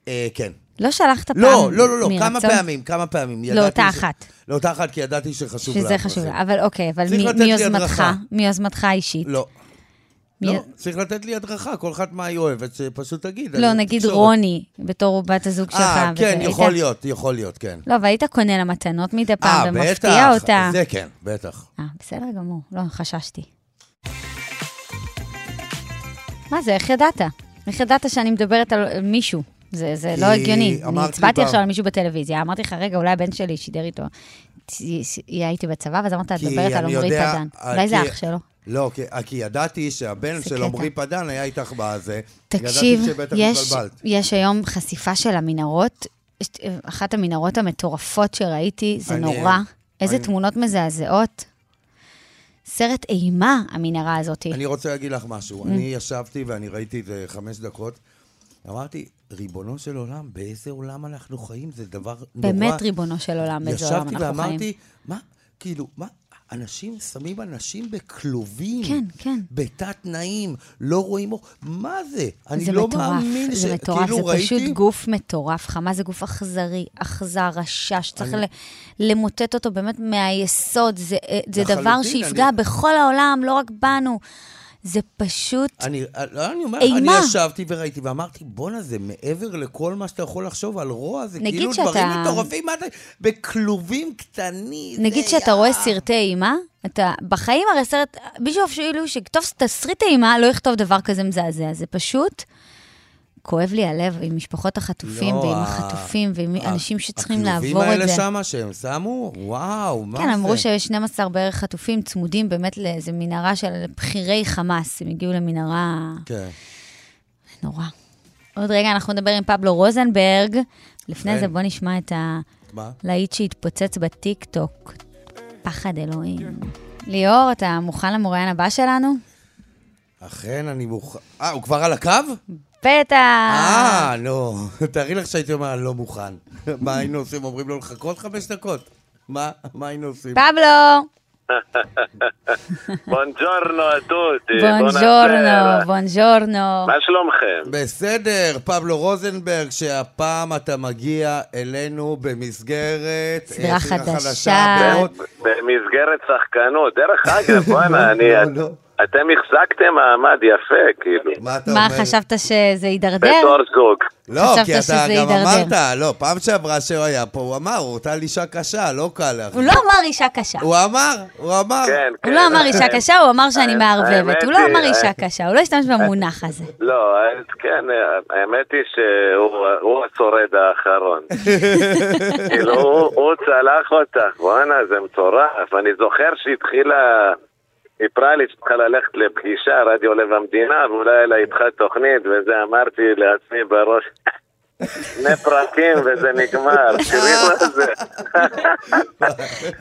Speaker 3: אה, כן.
Speaker 2: לא שלחת פעם
Speaker 3: לא, לא, לא, לא, כמה
Speaker 2: מרצון?
Speaker 3: פעמים, כמה פעמים. ידעתי
Speaker 2: לאותה
Speaker 3: ש-
Speaker 2: אחת.
Speaker 3: לאותה אחת, כי ידעתי שחשוב לה.
Speaker 2: שזה
Speaker 3: הפרחים.
Speaker 2: חשוב, לה. אבל אוקיי, אבל
Speaker 3: צריך
Speaker 2: מ-
Speaker 3: לתת לי
Speaker 2: מיוזמתך,
Speaker 3: הדרכה.
Speaker 2: מיוזמתך האישית.
Speaker 3: לא.
Speaker 2: מי-
Speaker 3: לא, צריך לתת לי הדרכה, כל אחת מה היא אוהבת, שפשוט תגיד.
Speaker 2: לא,
Speaker 3: אני
Speaker 2: נגיד
Speaker 3: תקשורת.
Speaker 2: רוני, בתור בת הזוג שלך.
Speaker 3: אה,
Speaker 2: וזה,
Speaker 3: כן,
Speaker 2: היית-
Speaker 3: יכול להיות, יכול להיות, כן.
Speaker 2: לא, והיית קונה לה מתנות מדי
Speaker 3: אה,
Speaker 2: פעם ומפתיע
Speaker 3: בטח,
Speaker 2: אותה.
Speaker 3: זה כן, בטח.
Speaker 2: אה, בסדר גמור, לא, חששתי. מה זה, איך ידעת? איך ידעת שאני מדברת על מישהו? זה, זה לא
Speaker 3: כי
Speaker 2: הגיוני. אני
Speaker 3: אמרת לי
Speaker 2: הצבעתי
Speaker 3: פעם-
Speaker 2: עכשיו על מישהו בטלוויזיה, אמרתי לך, רגע, אולי הבן שלי שידר איתו. ת- הייתי בצבא, ואז אמרת, את
Speaker 3: כי
Speaker 2: מדברת על
Speaker 3: אני
Speaker 2: עמרי
Speaker 3: יודע-
Speaker 2: פדן.
Speaker 3: אה,
Speaker 2: אולי זה
Speaker 3: כי-
Speaker 2: אח שלו.
Speaker 3: לא, כי- אה, כי ידעתי שהבן
Speaker 2: זה
Speaker 3: של
Speaker 2: קטע.
Speaker 3: עמרי פדן היה איתך בזה.
Speaker 2: תקשיב,
Speaker 3: ידעתי שבטח
Speaker 2: יש,
Speaker 3: התבלבלת.
Speaker 2: יש היום חשיפה של המנהרות. יש- אחת המנהרות המטורפות שראיתי, זה
Speaker 3: אני-
Speaker 2: נורא. איזה
Speaker 3: אני-
Speaker 2: תמונות מזעזעות. סרט אימה, המנהרה הזאת.
Speaker 3: אני רוצה להגיד לך משהו.
Speaker 2: אה.
Speaker 3: אני ישבתי ואני ראיתי איזה חמש דקות. אמרתי, ריבונו של עולם, באיזה עולם אנחנו חיים? זה דבר נורא.
Speaker 2: באמת ריבונו של עולם, באיזה עולם
Speaker 3: ישבתי
Speaker 2: אנחנו חיים.
Speaker 3: ואמרתי, מה, כאילו, מה, אנשים שמים אנשים בכלובים.
Speaker 2: כן, כן.
Speaker 3: בתת תנאים, לא רואים... אור- מה זה? אני
Speaker 2: זה
Speaker 3: לא
Speaker 2: מטורף,
Speaker 3: מאמין ש...
Speaker 2: זה מטורף,
Speaker 3: כאילו
Speaker 2: זה
Speaker 3: ראיתי...
Speaker 2: פשוט גוף מטורף. חמה זה גוף אכזרי, אכזר, רשע, שצריך ל- למוטט אותו באמת מהיסוד. זה, אה, זה דבר
Speaker 3: לחלוטין,
Speaker 2: שיפגע
Speaker 3: אני-
Speaker 2: בכל העולם, לא רק בנו. זה פשוט
Speaker 3: אני, לא, אני אומר,
Speaker 2: אימה.
Speaker 3: אני ישבתי וראיתי ואמרתי, בואנה, זה מעבר לכל מה שאתה יכול לחשוב על רוע, זה
Speaker 2: נגיד
Speaker 3: כאילו
Speaker 2: שאתה-
Speaker 3: דברים מטורפים, מה אתה... בכלובים קטנים.
Speaker 2: נגיד
Speaker 3: זה
Speaker 2: שאתה
Speaker 3: יא-
Speaker 2: רואה סרטי אימה, אתה בחיים הרי סרט, מישהו אפילו שכתוב תסריט אימה, לא יכתוב דבר כזה מזעזע. זה פשוט, כואב לי הלב עם משפחות החטופים,
Speaker 3: לא,
Speaker 2: ועם
Speaker 3: ה-
Speaker 2: החטופים, ועם
Speaker 3: ה-
Speaker 2: אנשים שצריכים לעבור
Speaker 3: הכלובים
Speaker 2: את
Speaker 3: האלה
Speaker 2: זה.
Speaker 3: שמה שהם שמו, וואו, מה
Speaker 2: כן,
Speaker 3: זה?
Speaker 2: אמרו שיש 12 בערך חטופים צמודים באמת לאיזו מנהרה של בכירי חמאס. הם הגיעו למנהרה
Speaker 3: כן.
Speaker 2: נורא. עוד רגע אנחנו נדבר עם פבלו רוזנברג. לפני
Speaker 3: כן.
Speaker 2: זה בוא נשמע את
Speaker 3: מה?
Speaker 2: הלהיט שהתפוצץ בטיקטוק. פחד אלוהים. ליאור, אתה מוכן למוראיין הבא שלנו?
Speaker 3: אכן, אני מוכן... אה, הוא כבר על הקו?
Speaker 2: בטח!
Speaker 3: אה, לא. תארי לך שהייתי אומר, אני לא מוכן. מה היינו עושים? אומרים לו לחכות חמש דקות? מה? מה היינו עושים?
Speaker 2: פבלו!
Speaker 4: בונג'ורנו, הדודי.
Speaker 2: בונג'ורנו, בונג'ורנו.
Speaker 4: מה שלומכם?
Speaker 3: בסדר, פבלו רוזנברג, שהפעם אתה מגיע אלינו במסגרת...
Speaker 2: סדרה
Speaker 3: אה,
Speaker 2: חדשה.
Speaker 3: מאוד.
Speaker 4: במסגרת שחקנות. דרך אגב, בואנה, אני...
Speaker 3: לא, לא.
Speaker 4: אתם החזקתם מעמד יפה, כאילו.
Speaker 3: מה אתה
Speaker 2: מה,
Speaker 3: אומר?
Speaker 2: חשבת שזה יידרדר?
Speaker 4: בתור זוג.
Speaker 3: לא,
Speaker 2: חשבת
Speaker 3: כי אתה
Speaker 2: שזה
Speaker 3: גם
Speaker 2: יידרדר.
Speaker 3: אמרת, לא, פעם שעברה שהוא היה פה, הוא אמר, הוא אותה אישה קשה, לא קל לך.
Speaker 2: הוא לא אמר אישה קשה.
Speaker 3: הוא אמר, הוא אמר.
Speaker 4: כן, כן.
Speaker 2: הוא לא אמר אישה קשה, הוא אמר שאני
Speaker 4: האמת-
Speaker 2: מערבבת. הוא לא
Speaker 4: האמת
Speaker 2: אמר
Speaker 4: היא- אה,
Speaker 2: אישה קשה, הוא לא השתמש במונח הזה.
Speaker 4: לא, אז כן, האמת היא שהוא הוא השורד האחרון. כאילו, הוא- הוא צלח אותך, בואנה, זה מטורף. אני זוכר שהתחילה, סיפרה לי שצריכה ללכת לפגישה, רדיו לב המדינה, ואולי היה לה איתך תוכנית, וזה אמרתי לעצמי בראש. שני פרקים וזה נגמר, תראי מה זה.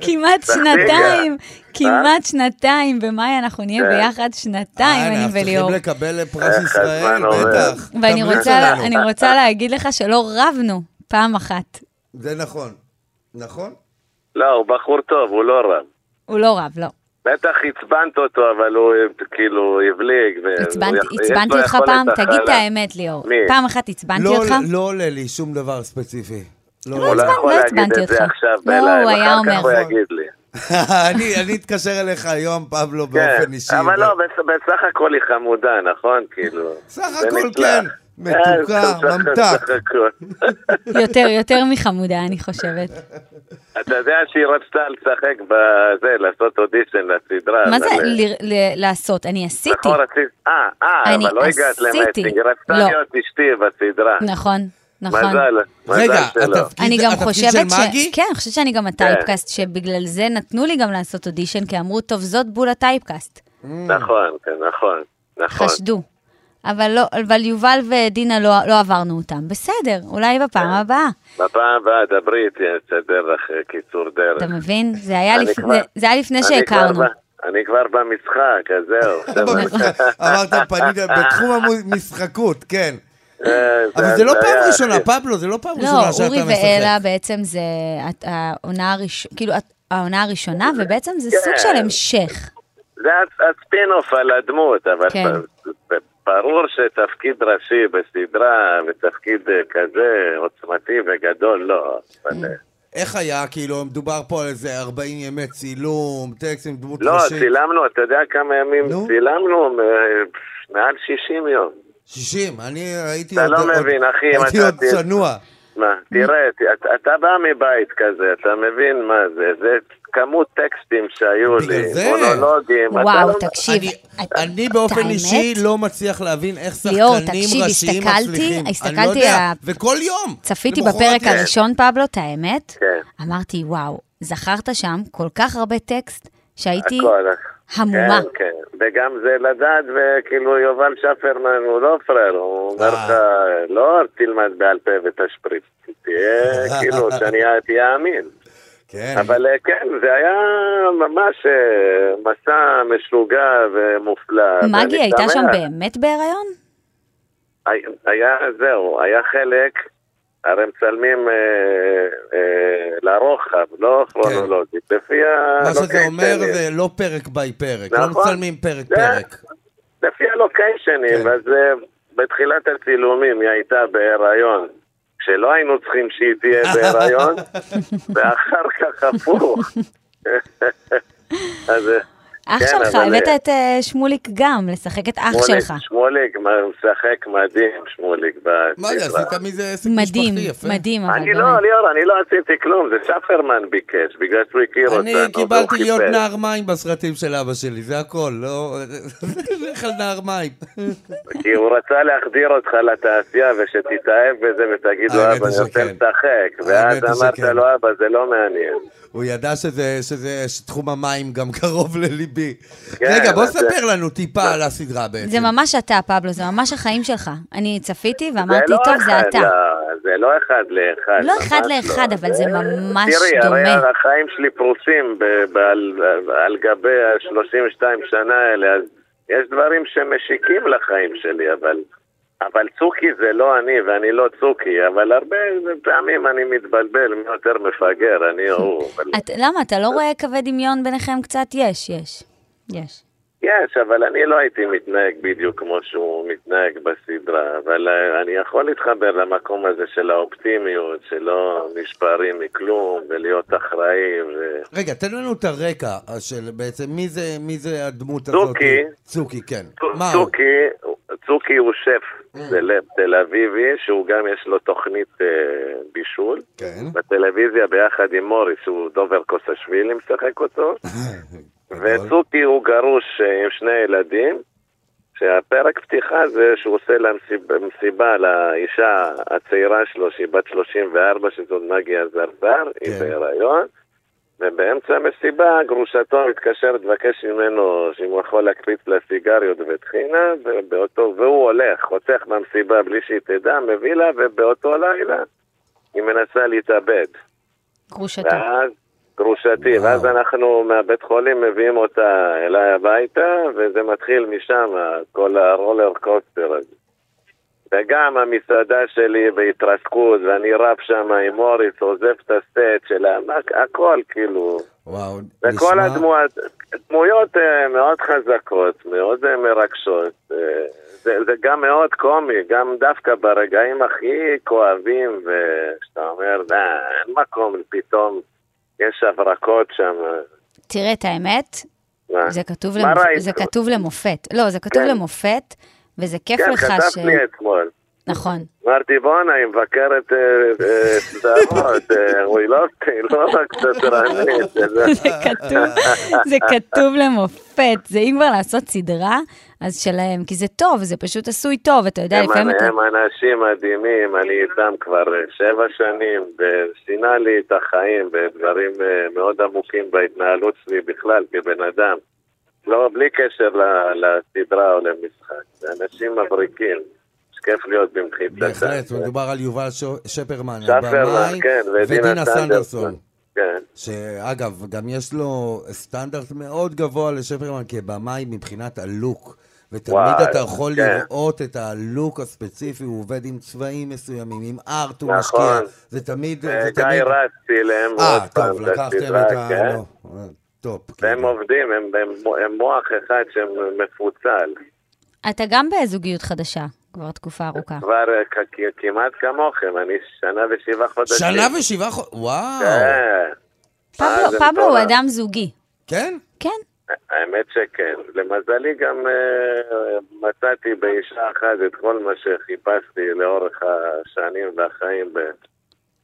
Speaker 2: כמעט שנתיים, כמעט שנתיים, במאי אנחנו נהיה
Speaker 4: כן.
Speaker 2: ביחד שנתיים,
Speaker 3: אה,
Speaker 2: אני וליאור.
Speaker 3: אנחנו צריכים לקבל פרס
Speaker 4: איך
Speaker 3: ישראל,
Speaker 4: הזמן עובר.
Speaker 3: בטח.
Speaker 2: ואני
Speaker 3: תמליץ
Speaker 2: רוצה-
Speaker 3: עלינו.
Speaker 2: אני רוצה להגיד לך שלא רבנו פעם אחת.
Speaker 3: זה נכון. נכון?
Speaker 4: לא, הוא בחור טוב, הוא לא רב.
Speaker 2: הוא לא רב, לא.
Speaker 4: אה, בטח עצבנת אותו, אבל הוא כאילו הבליג. ו-
Speaker 2: עצבנתי
Speaker 4: הוא- יש לו
Speaker 2: עצבנתי אותך
Speaker 4: יכולת
Speaker 2: פעם?
Speaker 4: הכלה.
Speaker 2: תגיד את האמת, ליאור.
Speaker 4: מי?
Speaker 2: פעם אחת עצבנתי
Speaker 3: לא-
Speaker 2: אותך?
Speaker 3: לא עולה לי שום דבר ספציפי. לא
Speaker 4: הוא
Speaker 3: עולה
Speaker 4: לא
Speaker 3: לי.
Speaker 2: עצבן-
Speaker 4: יכול
Speaker 2: לא
Speaker 4: להגיד
Speaker 2: עצבנתי
Speaker 4: את זה
Speaker 2: אותך.
Speaker 4: עכשיו
Speaker 2: לא,
Speaker 4: בלייב,
Speaker 2: הוא היה
Speaker 4: אחר כך הוא
Speaker 2: אומר.
Speaker 4: יגיד לי.
Speaker 3: אני- אני אתקשר אליך היום, פבלו,
Speaker 4: כן,
Speaker 3: באופן אישי.
Speaker 4: אבל
Speaker 3: ו-
Speaker 4: לא, בס- בסך הכל היא חמודה, נכון? כאילו...
Speaker 3: סך
Speaker 4: זה
Speaker 3: הכל
Speaker 4: נפלא.
Speaker 3: כן, מתוקה,
Speaker 4: אה, סך-
Speaker 3: ממתק.
Speaker 4: סך הכל.
Speaker 3: לא.
Speaker 2: יותר, יותר מחמודה, אני חושבת.
Speaker 4: אתה יודע שהיא רצתה לשחק בזה, לעשות אודישן לסדרה.
Speaker 2: מה זה
Speaker 4: אבל-
Speaker 2: ל- ל- לעשות? אני עשיתי.
Speaker 4: אה, נכון, רצית... אה, אה,
Speaker 2: אני
Speaker 4: אבל לא הגעת
Speaker 2: עשיתי.
Speaker 4: למאצ'ינג, היא רצתה
Speaker 2: לא.
Speaker 4: להיות אשתי בסדרה.
Speaker 2: נכון, נכון.
Speaker 4: מזל,
Speaker 3: רגע,
Speaker 4: מזל שלא.
Speaker 3: התפקיד-
Speaker 2: אני גם
Speaker 3: התפקיד
Speaker 2: חושבת
Speaker 3: של
Speaker 2: ש...
Speaker 3: מגי?
Speaker 2: כן, אני חושבת שאני גם הטייפקאסט, שבגלל זה נתנו לי גם לעשות אודישן, כי אמרו, טוב, זאת בול הטייפקאסט.
Speaker 4: נכון, כן, נכון, נכון.
Speaker 2: חשדו. אבל לא, אבל יובל ודינה לא, לא עברנו אותם. בסדר, אולי בפעם הבאה.
Speaker 4: בפעם הבאה דברי איתי, אני אסדר לך אה, קיצור דרך.
Speaker 2: אתה מבין? זה היה,
Speaker 4: אני
Speaker 2: לפ...
Speaker 4: כבר-
Speaker 2: זה, זה היה לפני
Speaker 4: אני
Speaker 2: שהכרנו.
Speaker 4: כבר ב- אני כבר במשחק, אז זהו. עכשיו אני-
Speaker 3: אמרת פנית בתחום המשחקות, כן.
Speaker 4: אה,
Speaker 3: אבל זה לא פעם
Speaker 4: היה-
Speaker 3: ראשונה, פבלו, זה לא פעם
Speaker 2: לא,
Speaker 3: ראשונה שאתה
Speaker 2: אורי
Speaker 3: משחק.
Speaker 2: ואלה בעצם זה הת- העונה הראשונה, כאילו, הת- העונה הראשונה, ובעצם זה סוג
Speaker 4: כן.
Speaker 2: של המשך.
Speaker 4: זה הס- הספינוף על הדמות, אבל
Speaker 2: כן.
Speaker 4: ב- ב- ברור שתפקיד ראשי בסדרה ותפקיד אה, כזה עוצמתי וגדול, לא. אבל, אה,
Speaker 3: איך היה? כאילו, מדובר פה על איזה 40 ימי צילום, טקסט עם דמות
Speaker 4: לא,
Speaker 3: ראשית.
Speaker 4: צילמנו, אתה יודע כמה ימים
Speaker 3: נו.
Speaker 4: צילמנו? אה, מעל 60 יום.
Speaker 3: 60, אני הייתי
Speaker 4: אתה
Speaker 3: עוד...
Speaker 4: לא
Speaker 3: עוד-
Speaker 4: מבין, אחי, אם
Speaker 3: הייתי
Speaker 4: אתה
Speaker 3: עוד
Speaker 4: תהיה-
Speaker 3: צנוע.
Speaker 4: מה, תראה, ת- אתה- אתה בא מבית כזה, אתה מבין מה זה, זה כמות טקסטים שהיו
Speaker 3: בגלל
Speaker 4: לי,
Speaker 3: זה?
Speaker 4: מונולוגים. אתה
Speaker 2: וואו,
Speaker 4: לא-
Speaker 2: תקשיב.
Speaker 3: אני-
Speaker 2: את-
Speaker 3: אני באופן
Speaker 2: האמת?
Speaker 3: אישי לא מצליח להבין איך
Speaker 2: ליאור,
Speaker 3: שחקנים
Speaker 2: תקשיב,
Speaker 3: ראשיים
Speaker 2: הסתכלתי-
Speaker 3: מצליחים.
Speaker 2: הסתכלתי
Speaker 3: אני לא יודע,
Speaker 2: על ה-
Speaker 3: וכל יום.
Speaker 2: צפיתי
Speaker 3: למחרת
Speaker 2: בפרק
Speaker 3: יש.
Speaker 2: הראשון, פבלו, את האמת?
Speaker 4: כן.
Speaker 2: אמרתי, וואו, זכרת שם כל כך הרבה טקסט, שהייתי
Speaker 4: הכל.
Speaker 2: המומה.
Speaker 4: כן, כן, וגם זה לדעת, וכאילו יובל שפרמן הוא לא פראייר, הוא אומר
Speaker 3: אה.
Speaker 4: לך, לא תלמד בעל פה ותשפריץ, תהיה, כאילו, שאני תהיה אמין.
Speaker 3: כן.
Speaker 4: אבל אה, כן, זה היה ממש אה, מסע משוגע ומופלא.
Speaker 2: מגי
Speaker 4: ואני
Speaker 2: הייתה שם
Speaker 4: שמח.
Speaker 2: באמת בהיריון?
Speaker 4: היה, זהו, היה חלק, הרי מצלמים אה, אה, לרוחב, לא כרונולוגית, לפי ה...
Speaker 3: כן. מה שאתה אומר
Speaker 4: לוקיישנים.
Speaker 3: זה לא פרק ביי פרק. לא
Speaker 4: אה, אוקיי, נכון.
Speaker 3: מצלמים פרק
Speaker 4: זה-
Speaker 3: פרק.
Speaker 4: לפי הלוקיישנים,
Speaker 3: כן.
Speaker 4: אז אה, בתחילת הצילומים היא הייתה בהיריון. שלא היינו צריכים שהיא תהיה בהיריון, ואחר כך הפוך. אז אה,
Speaker 2: אח
Speaker 4: כן,
Speaker 2: שלך,
Speaker 4: אבל,
Speaker 2: הבאת
Speaker 4: אה,
Speaker 2: את אה, שמוליק גם, לשחק את אח
Speaker 4: שמוליק-
Speaker 2: שלך.
Speaker 4: שמוליק מה- משחק מדהים, שמוליק.
Speaker 3: מה
Speaker 4: בסדרה.
Speaker 3: זה, עשית מזה עסק משפחתי
Speaker 2: מדהים,
Speaker 3: יפה.
Speaker 2: מדהים, אבל
Speaker 4: אני לא,
Speaker 2: באמת.
Speaker 4: ליאור, אני לא עשיתי כלום, זה שפרמן ביקש, בגלל שהוא הכיר אותנו.
Speaker 3: אני
Speaker 4: והוא
Speaker 3: קיבלתי להיות
Speaker 4: חיפש.
Speaker 3: נער מים בסרטים של אבא שלי, זה הכל, לא... לך על נער מים.
Speaker 4: כי הוא רצה להחדיר אותך לתעשייה ושתתאהב בזה ותגיד לו,
Speaker 3: האמת
Speaker 4: אבא, אני
Speaker 3: היא
Speaker 4: רוצה
Speaker 3: שכן.
Speaker 4: לשחק.
Speaker 3: האמת כן.
Speaker 4: ואז
Speaker 3: היא
Speaker 4: אמרת
Speaker 3: שכן.
Speaker 4: לו, אבא, זה לא מעניין.
Speaker 3: הוא ידע שזה, שזה, שתחום המים גם קרוב לליבו. ליבי.
Speaker 4: כן,
Speaker 3: רגע, בוא
Speaker 4: אבל זה-
Speaker 3: ספר לנו טיפה על הסדרה בעצם.
Speaker 2: זה ממש אתה, פבלו, זה ממש החיים שלך. אני צפיתי
Speaker 4: זה
Speaker 2: ואמרתי,
Speaker 4: לא
Speaker 2: טוב, זה
Speaker 4: אחד
Speaker 2: אתה.
Speaker 4: ל- זה לא אחד לאחד.
Speaker 2: לא אחד
Speaker 4: ממש אה,
Speaker 2: לאחד, אבל זה ממש
Speaker 4: תראי,
Speaker 2: דומה.
Speaker 4: הרי החיים שלי פרוסים ב- בעל- על גבי ה-32 שנה האלה, אז יש דברים שמשיקים לחיים שלי, אבל... אבל צוקי זה לא אני, ואני לא צוקי, אבל הרבה פעמים אני מתבלבל, מי יותר מפגר, אני הוא. אבל...
Speaker 2: את- למה, אתה לא רואה קווי דמיון ביניכם קצת? יש, יש. יש.
Speaker 4: יש, אבל אני לא הייתי מתנהג בדיוק כמו שהוא מתנהג בסדרה, אבל אה, אני יכול להתחבר למקום הזה של האופטימיות, שלא נשפרים מכלום, ולהיות אחראים. ו...
Speaker 3: רגע, תן לנו את הרקע של בעצם, מי זה, מי זה הדמות
Speaker 4: צוקי.
Speaker 3: הזאת? צוקי, כן. מה Mm. הוא?
Speaker 4: צוקי, צוקי הוא שף סלב תל אביבי, שהוא גם יש לו תוכנית אה, בישול.
Speaker 3: כן.
Speaker 4: בטלוויזיה ביחד עם מוריס, שהוא דובר קוסאשווילי משחק אותו.
Speaker 3: גדול.
Speaker 4: וצוקי הוא גרוש אה, עם שני ילדים, שהפרק פתיחה זה שהוא עושה לה מסיב- מסיבה לאישה הצעירה שלו, שהיא בת 34, שזאת מגי עזרזר, היא
Speaker 3: כן.
Speaker 4: בהיריון, ובאמצע המסיבה גרושתו מתקשרת לבקש ממנו שאם הוא יכול להקפיץ לה סיגריות וטחינה, ובאותו, והוא הולך, חותך מהמסיבה בלי שהיא תדע, מביא לה, ובאותו לילה היא מנסה להתאבד.
Speaker 2: גרושתו.
Speaker 4: ואז גרושתי,
Speaker 3: וואו.
Speaker 4: ואז אנחנו מהבית חולים מביאים אותה אליי הביתה, וזה מתחיל משם, כל הרולר קוסטר הזה. וגם המסעדה שלי בהתרסקות, ואני רב שם עם מוריס, עוזב את הסט של ה... הכל, כאילו.
Speaker 3: וואו,
Speaker 4: וכל
Speaker 3: נשמע-
Speaker 4: הדמויות, דמויות אה, מאוד חזקות, מאוד אה, מרגשות. אה, זה, זה גם מאוד קומי, גם דווקא ברגעים הכי כואבים, ושאתה אומר, "אה, אין מקום, פתאום יש הברקות שם.
Speaker 2: תראה את האמת,
Speaker 4: מה?
Speaker 2: זה כתוב,
Speaker 4: אה. מה
Speaker 2: למופ...
Speaker 4: ראית?
Speaker 2: זה כתוב למופת. לא, זה כתוב
Speaker 4: כן.
Speaker 2: למופת, וזה כיף
Speaker 4: כן,
Speaker 2: לך ש...
Speaker 4: כתבת לי אתמול.
Speaker 2: נכון.
Speaker 4: אמרתי, בואנה, היא מבקרת אה, אה, סדרות, אה, היא לא- היא לא רק סדרנית. אה, זה-
Speaker 2: זה כתוב, זה כתוב למופת. זה אם כבר לעשות סדרה, אז שלהם, כי זה טוב, זה פשוט עשוי טוב, אתה יודע, לפעמים
Speaker 4: הם,
Speaker 2: אתה...
Speaker 4: הם אנשים מדהימים, אני איתם כבר אה, שבע שנים, ושינה לי את החיים בדברים אה, מאוד עמוקים בהתנהלות שלי בכלל כבן אדם. לא, בלי קשר ל- לסדרה או למשחק. זה אנשים מבריקים, שכיף להיות במחיצתם.
Speaker 3: בהחלט, מדובר על יובל ש- שפרמן,
Speaker 4: שפרמן,
Speaker 3: הבמאי,
Speaker 4: כן,
Speaker 3: ודינה סנדרסון.
Speaker 4: כן.
Speaker 3: שאגב, גם יש לו סטנדרט מאוד גבוה לשפרמן כבמאי מבחינת הלוק. ותמיד
Speaker 4: וואי,
Speaker 3: אתה יכול
Speaker 4: כן.
Speaker 3: לראות את הלוק הספציפי, הוא עובד עם צבעים מסוימים, עם ארט הוא
Speaker 4: נכון.
Speaker 3: משקיע. זה תמיד... זה
Speaker 4: אה,
Speaker 3: תמיד-
Speaker 4: גיא רץ צילם עוד
Speaker 3: אה,
Speaker 4: פעם
Speaker 3: טוב, לקחתם את ה...
Speaker 4: כן.
Speaker 3: לא, אה, טופ.
Speaker 4: והם
Speaker 3: כאילו.
Speaker 4: עובדים, הם- הם- הם מוח אחד שמפוצל.
Speaker 2: אתה גם בזוגיות חדשה, כבר תקופה ארוכה.
Speaker 4: כבר אה, כ- כ- כמעט כמוכם, אני שנה ושבעה חודשים.
Speaker 3: שנה ושבעה חודשים, וואו.
Speaker 4: כן. אה,
Speaker 2: פבלו,
Speaker 4: זה
Speaker 2: פבלו הוא
Speaker 4: מטורף.
Speaker 2: אדם זוגי.
Speaker 3: כן?
Speaker 2: כן,
Speaker 4: האמת שכן. למזלי גם אה, מצאתי באישה אחת את כל מה שחיפשתי לאורך השנים והחיים. ב-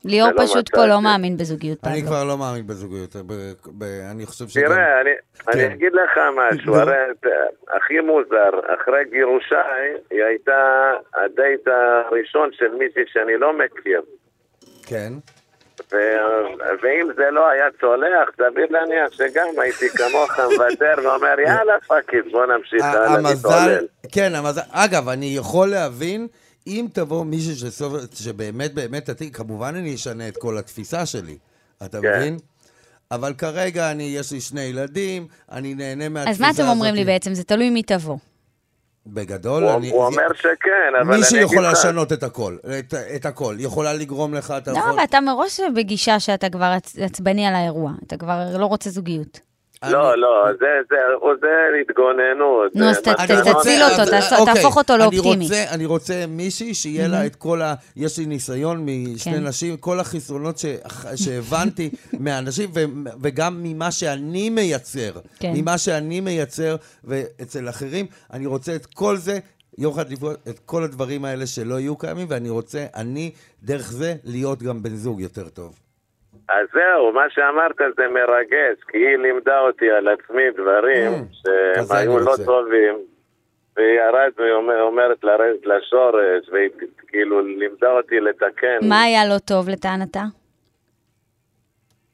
Speaker 2: ליאור
Speaker 4: זה לא
Speaker 2: פשוט פה
Speaker 4: מצאתי.
Speaker 2: לא מאמין בזוגיות,
Speaker 3: אני
Speaker 2: פבלו.
Speaker 3: כבר לא מאמין בזוגיות. ב- ב- אני חושב שגם...
Speaker 4: תראה, אני-
Speaker 3: כן.
Speaker 4: אני אגיד לך משהו,
Speaker 3: נו.
Speaker 4: הרי את- הכי מוזר, אחרי גירושיי, היא הייתה הדייט הראשון של מישהי שאני לא מכיר.
Speaker 3: כן.
Speaker 4: ו- ואם זה לא היה צולח, סביר להניח שגם הייתי כמוך מוותר ואומר, יאללה פאק איט, בוא נמשיך הלאה,
Speaker 3: המזל,
Speaker 4: נתעולל.
Speaker 3: כן, המזל, אגב, אני יכול להבין, אם תבוא מישהו שסוב- שבאמת באמת תתאים, כמובן אני אשנה את כל התפיסה שלי, אתה
Speaker 4: כן.
Speaker 3: מבין? אבל כרגע אני, יש לי שני ילדים, אני נהנה מהתפיסה הזאת.
Speaker 2: אז מה אתם אומרים
Speaker 3: אוקיי.
Speaker 2: לי בעצם? זה תלוי מי תבוא.
Speaker 3: בגדול,
Speaker 4: הוא
Speaker 3: אני...
Speaker 4: הוא אומר שכן, אבל
Speaker 3: מישהו
Speaker 4: אני אגיד
Speaker 3: יכול
Speaker 4: לך-
Speaker 3: לשנות את הכל, את, את הכל. יכולה לגרום לך, אתה
Speaker 2: לא,
Speaker 3: יכול...
Speaker 2: אבל אתה מראש בגישה שאתה כבר עצ- עצבני על האירוע. אתה כבר לא רוצה זוגיות.
Speaker 3: אני-
Speaker 4: לא, לא, זה, זה, או זה התגוננות.
Speaker 2: נו,
Speaker 4: זה
Speaker 2: אז ת-
Speaker 4: מנגנון
Speaker 3: אני רוצה-
Speaker 2: תציל אותו,
Speaker 3: אז-
Speaker 2: תעש-
Speaker 3: אוקיי,
Speaker 2: תהפוך אותו
Speaker 3: אני
Speaker 2: לאופטימי.
Speaker 3: רוצה- אני רוצה מישהי שיהיה לה את כל ה... יש לי ניסיון משני
Speaker 2: כן.
Speaker 3: נשים, כל החסרונות ש- שהבנתי מהאנשים, ו- וגם ממה שאני מייצר.
Speaker 2: כן.
Speaker 3: ממה שאני מייצר, ואצל אחרים, אני רוצה את כל זה. יום אחד לפגוש את כל הדברים האלה שלא יהיו קיימים, ואני רוצה, אני, דרך זה, להיות גם בן זוג יותר טוב.
Speaker 4: אז זהו, מה שאמרת זה מרגש, כי היא לימדה אותי על עצמי דברים
Speaker 3: Mm, כזה
Speaker 4: שהם
Speaker 3: אני
Speaker 4: היו לא
Speaker 3: רוצה.
Speaker 4: טובים, וירדנו, היא אומר- אומרת לרדת לשורש, והיא כאילו לימדה אותי לתקן.
Speaker 2: מה היה לא טוב לטענתה?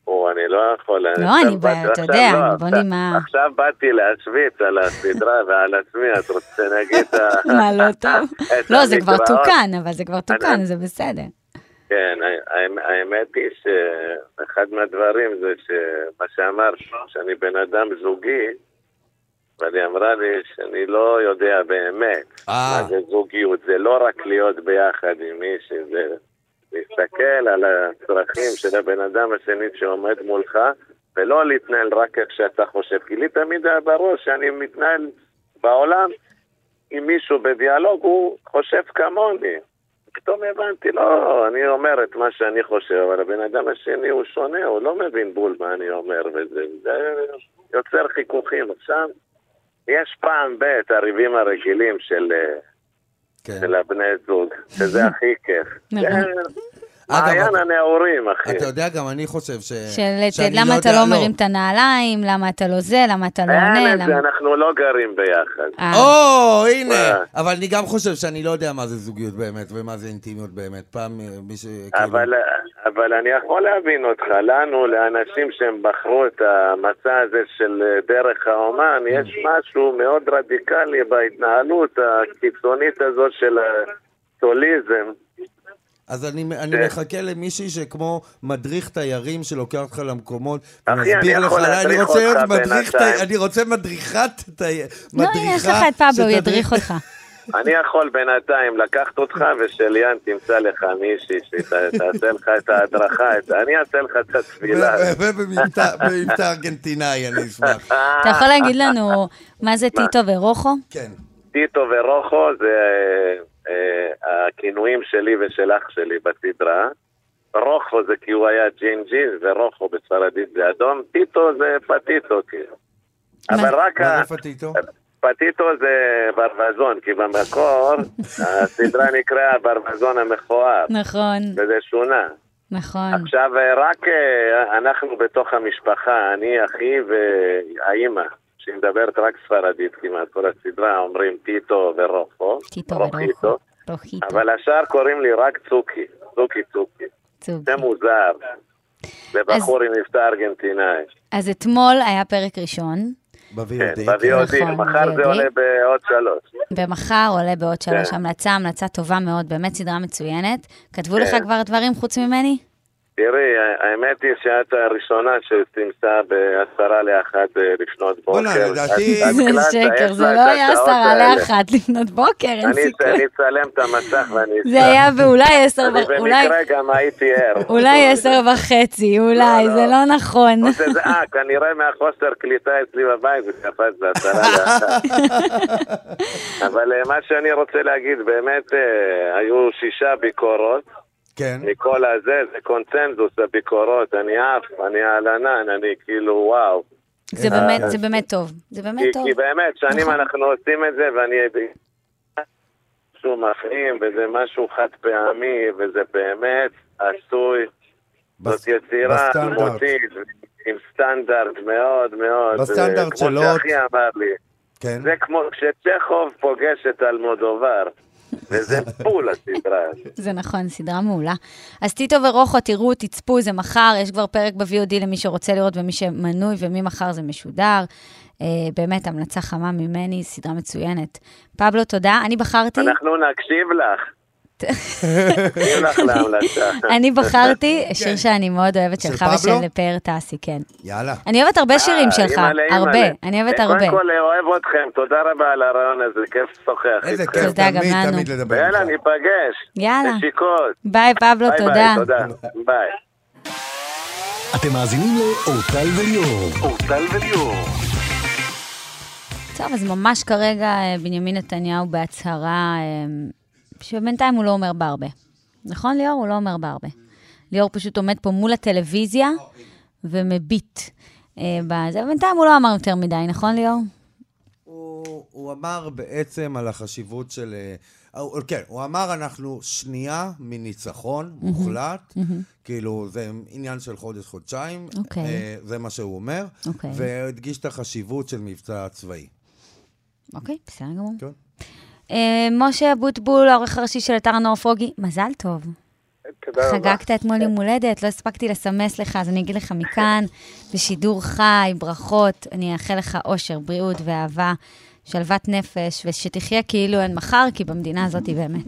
Speaker 4: או, אני לא יכול.
Speaker 2: לא,
Speaker 4: עכשיו
Speaker 2: אני ב-
Speaker 4: באתי-
Speaker 2: אתה
Speaker 4: עכשיו
Speaker 2: יודע,
Speaker 4: לא,
Speaker 2: בוא
Speaker 4: עכשיו-
Speaker 2: נמע.
Speaker 4: עכשיו באתי להשוויץ על הסדרה ועל עצמי, את רוצה שאני אגיד את ה...
Speaker 2: מה, לא טוב?
Speaker 4: את
Speaker 2: לא, זה כבר
Speaker 4: המגרעות?
Speaker 2: תוקן, אבל זה כבר תוקן,
Speaker 4: אני-
Speaker 2: זה בסדר.
Speaker 4: כן, ה- ה- האמת היא שאחד מהדברים זה שמה שאמר שוש, אני בן אדם זוגי, אבל היא אמרה לי שאני לא יודע באמת
Speaker 3: אה.
Speaker 4: מה זה זוגיות, זה לא רק להיות ביחד עם מישהי, זה להסתכל על הצרכים של הבן אדם השני שעומד מולך, ולא להתנהל רק איך שאתה חושב, כי לי תמיד היה בראש שאני מתנהל בעולם עם מישהו בדיאלוג, הוא חושב כמוני. פתאום הבנתי, לא, אני אומר את מה שאני חושב, אבל הבן אדם השני הוא שונה, הוא לא מבין בול מה אני אומר, וזה זה יוצר חיכוכים. עכשיו, יש פעם ב' הריבים הרגילים של, אה,
Speaker 3: כן.
Speaker 4: של הבני זוג, שזה הכי כיף.
Speaker 2: נכון.
Speaker 4: כן,
Speaker 3: אגב,
Speaker 4: מעיין
Speaker 3: אתה-
Speaker 4: הנעורים, אחי.
Speaker 3: אתה יודע, גם אני חושב ש...
Speaker 2: של
Speaker 3: אה, שאני
Speaker 2: למה אתה
Speaker 3: יודע-
Speaker 2: לא מרים את הנעליים, למה אתה לא זה, למה אתה לא עונה,
Speaker 4: אין את זה,
Speaker 2: למה...
Speaker 4: אנחנו לא גרים ביחד.
Speaker 2: אה,
Speaker 3: או, הנה!
Speaker 4: אה.
Speaker 3: אבל אני גם חושב שאני לא יודע מה זה זוגיות באמת, ומה זה אינטימיות באמת. פעם אה, מי ש... כאילו-
Speaker 4: אבל, אבל אני יכול להבין אותך, לנו, לאנשים שהם בחרו את המצע הזה של אה, דרך האומן, יש משהו מאוד רדיקלי בהתנהלות הקיצונית הזו של הסוליזם.
Speaker 3: אז אני, אני מחכה למישהי שכמו מדריך תיירים שלוקח אותך למקומות,
Speaker 4: אחי,
Speaker 3: ומסביר
Speaker 4: אני יכול
Speaker 3: לך,
Speaker 4: להדריך
Speaker 3: אני רוצה להיות
Speaker 4: אותך
Speaker 3: מדריך, תי...
Speaker 4: בינתיים."
Speaker 3: אני רוצה מדריכת תיירים.
Speaker 2: לא, הנה, יש לך את פבלו, הוא ידריך אותך.
Speaker 4: אני יכול בינתיים לקחת אותך ושליאן תמצא לך מישהי שתעשה לך את ההדרכה, את- אני אעשה לך את התפילה.
Speaker 3: ובמבטא ארגנטינאי, אני אשמח.
Speaker 2: אתה יכול להגיד לנו מה זה טיטו ורוחו?
Speaker 3: כן.
Speaker 4: טיטו ורוחו זה אה, הכינויים שלי ושל אח שלי בסדרה. רוחו זה כי הוא היה ג'ינג'י, ורוחו בספרדית זה אדום. טיטו זה פטיטו, כאילו.
Speaker 2: מה?
Speaker 4: אבל רק
Speaker 3: מה
Speaker 4: ה...
Speaker 3: זה פטיטו?
Speaker 4: כן, פטיטו זה ברווזון, כי במקור הסדרה נקראה הברווזון המכוער,
Speaker 2: נכון,
Speaker 4: וזה שונה.
Speaker 2: נכון.
Speaker 4: עכשיו, אה, רק אה, אנחנו בתוך המשפחה, אני, אחי והאימא, שהיא מדברת רק ספרדית כמעט, כל הסדרה אומרים טיטו ורוחו.
Speaker 2: טיטו
Speaker 4: רוחיטו.
Speaker 2: ורוחו. רוחיטו.
Speaker 4: אבל השאר קוראים לי רק צוקי, צוקי צוקי.
Speaker 2: צוקי.
Speaker 4: זה מוזר. זה
Speaker 2: אוקיי. אז-
Speaker 4: בחור עם מבטא ארגנטינאי.
Speaker 2: אז אתמול היה פרק ראשון,
Speaker 4: כן,
Speaker 3: ב-VOD.
Speaker 4: ב-VOD,
Speaker 2: נכון,
Speaker 4: מחר זה
Speaker 2: VOD.
Speaker 4: עולה בעוד שלוש.
Speaker 2: ומחר עולה בעוד שלוש.
Speaker 4: כן.
Speaker 2: המלצה, המלצה טובה מאוד, באמת סדרה מצוינת. כתבו לך
Speaker 4: כן.
Speaker 2: כבר דברים חוץ ממני?
Speaker 4: תראי, ה- האמת היא שאת הראשונה שתמצא בעשרה לאחת אה, לפנות בוקר.
Speaker 3: בוא'נה, לדעתי-
Speaker 4: את- את
Speaker 2: זה
Speaker 4: הקלטת,
Speaker 2: שקר,
Speaker 4: יש
Speaker 2: זה
Speaker 4: לה את
Speaker 2: לא היה
Speaker 4: השעות
Speaker 2: עשרה
Speaker 4: האלה.
Speaker 2: לאחת לפנות בוקר, אין
Speaker 4: אני
Speaker 2: סיכוי.
Speaker 4: אני אצלם את המסך ואני...
Speaker 2: זה היה באולי עשר,
Speaker 4: אני
Speaker 2: ו- אולי...
Speaker 4: במקרה גם הייתי ער.
Speaker 2: אולי עשר וחצי, אולי,
Speaker 4: לא,
Speaker 2: זה
Speaker 4: לא.
Speaker 2: לא נכון.
Speaker 4: או שזה- אה, כנראה מהחוסר קליטה אצלי בבית, זה קפץ בעשרה לאחת. אבל אה, מה שאני רוצה להגיד, באמת אה, היו שישה ביקורות
Speaker 3: כן.
Speaker 4: מכל הזה, זה קונצנזוס הביקורות, אני עף, אני על ענן, אני כאילו וואו.
Speaker 2: זה באמת, זה באמת טוב. זה באמת
Speaker 4: אה, כי,
Speaker 2: טוב.
Speaker 4: כי באמת, שנים
Speaker 2: נכון.
Speaker 4: אנחנו עושים את זה, ואני... משהו מפעים, וזה משהו חד פעמי, וזה באמת עשוי.
Speaker 3: בס-
Speaker 4: זאת יצירה
Speaker 3: בסטנדרט.
Speaker 4: אלמותית, עם סטנדרט מאוד מאוד.
Speaker 3: בסטנדרט
Speaker 4: אה,
Speaker 3: שלו-
Speaker 4: כמו שאחי אמר לי,
Speaker 3: כן.
Speaker 4: זה כמו כשצ'כוב פוגש את אלמודובר, וזה בול הסדרה הזאת.
Speaker 2: זה נכון, סדרה מעולה. אז טיטו ורוחו, תראו, תצפו, זה מחר, יש כבר פרק ב-VOD למי שרוצה לראות ומי שמנוי ומי מחר זה משודר. אה, באמת, המלצה חמה ממני, סדרה מצוינת. פבלו, תודה. אני בחרתי,
Speaker 4: אנחנו נקשיב לך. נקשיב לך להמלצה.
Speaker 2: אני בחרתי
Speaker 4: כן.
Speaker 2: שיר שאני מאוד אוהבת
Speaker 3: של
Speaker 2: שלך
Speaker 3: פבלו?
Speaker 2: ושל פאר טאסי, כן.
Speaker 3: יאללה.
Speaker 4: אוקיי.
Speaker 2: אני אוהבת הרבה שירים שלך,
Speaker 4: אה, אימא'לה, אימא'לה. אה,
Speaker 2: הרבה. אני אוהבת הרבה.
Speaker 4: קודם כל, אוהב אתכם, תודה רבה על הרעיון הזה, כיף לשוחח
Speaker 3: איזה
Speaker 4: איתכם.
Speaker 3: כיף,
Speaker 2: תודה, גם
Speaker 3: תמיד,
Speaker 2: לנו.
Speaker 3: תמיד לדבר
Speaker 4: יאללה,
Speaker 3: איתך.
Speaker 4: ניפגש.
Speaker 2: יאללה.
Speaker 4: נשיקות.
Speaker 2: ביי, פבלו,
Speaker 4: ביי
Speaker 2: תודה.
Speaker 4: ביי, תודה. ביי.
Speaker 1: אתם מאזינים לאורטל וליאור.
Speaker 2: טוב, אז ממש כרגע אה, בנימין נתניהו בהצהרה, אה, שבינתיים הוא לא אומר בה הרבה. נכון, ליאור? הוא לא אומר בה הרבה. ליאור פשוט עומד פה מול הטלוויזיה ומביט. אה, בזה, בינתיים הוא לא אמר יותר מדי, נכון, ליאור?
Speaker 3: הוא, הוא אמר בעצם על החשיבות של... אה, הוא- כן, הוא אמר אנחנו שנייה מניצחון מוחלט, כאילו זה עניין של חודש-חודשיים,
Speaker 2: אוקיי.
Speaker 3: אה, זה מה שהוא אומר,
Speaker 2: אוקיי.
Speaker 3: והדגיש את החשיבות של מבצע צבאי.
Speaker 2: אוקיי, בסדר גמור.
Speaker 3: כן.
Speaker 2: אה, משה אבוטבול, העורך הראשי של אתר הנוער פרוגי, מזל טוב.
Speaker 4: תודה רבה.
Speaker 2: חגגת אתמול יום הולדת, לא הספקתי לסמס לך, אז אני אגיד לך מכאן, בשידור חי, ברכות, אני אאחל לך אושר, בריאות ואהבה, שלוות נפש, ושתחיה כאילו אין מחר, כי במדינה הזאת באמת.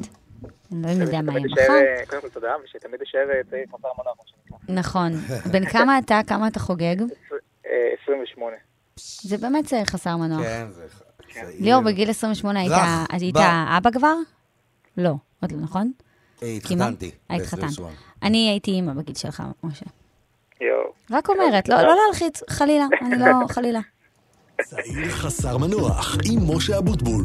Speaker 2: אני לא יודע מה יהיה מחר.
Speaker 5: אה, קודם כל תודה, ושתמיד יישאר אה, צעיר חסר מנה, כמו שנקרא.
Speaker 2: נכון. בן כמה אתה? כמה אתה חוגג?
Speaker 5: אה, 28.
Speaker 2: זה באמת צעיר חסר מנוח.
Speaker 3: כן, זה... צעיר.
Speaker 2: אה. ליאור, בגיל 28 היית-
Speaker 3: רך,
Speaker 2: היית
Speaker 3: בר.
Speaker 2: אבא כבר? לא, עוד לא, נכון?
Speaker 3: אה,
Speaker 2: אימא?
Speaker 3: התחתנתי.
Speaker 2: אה, התחתנת.
Speaker 3: ב-28.
Speaker 2: אני הייתי אימא בגיל שלך, משה.
Speaker 5: יואו.
Speaker 2: רק אומרת, לא לא להלחיץ, חלילה, אני לא, חלילה.
Speaker 1: צעיר חסר מנוח עם משה אבוטבול.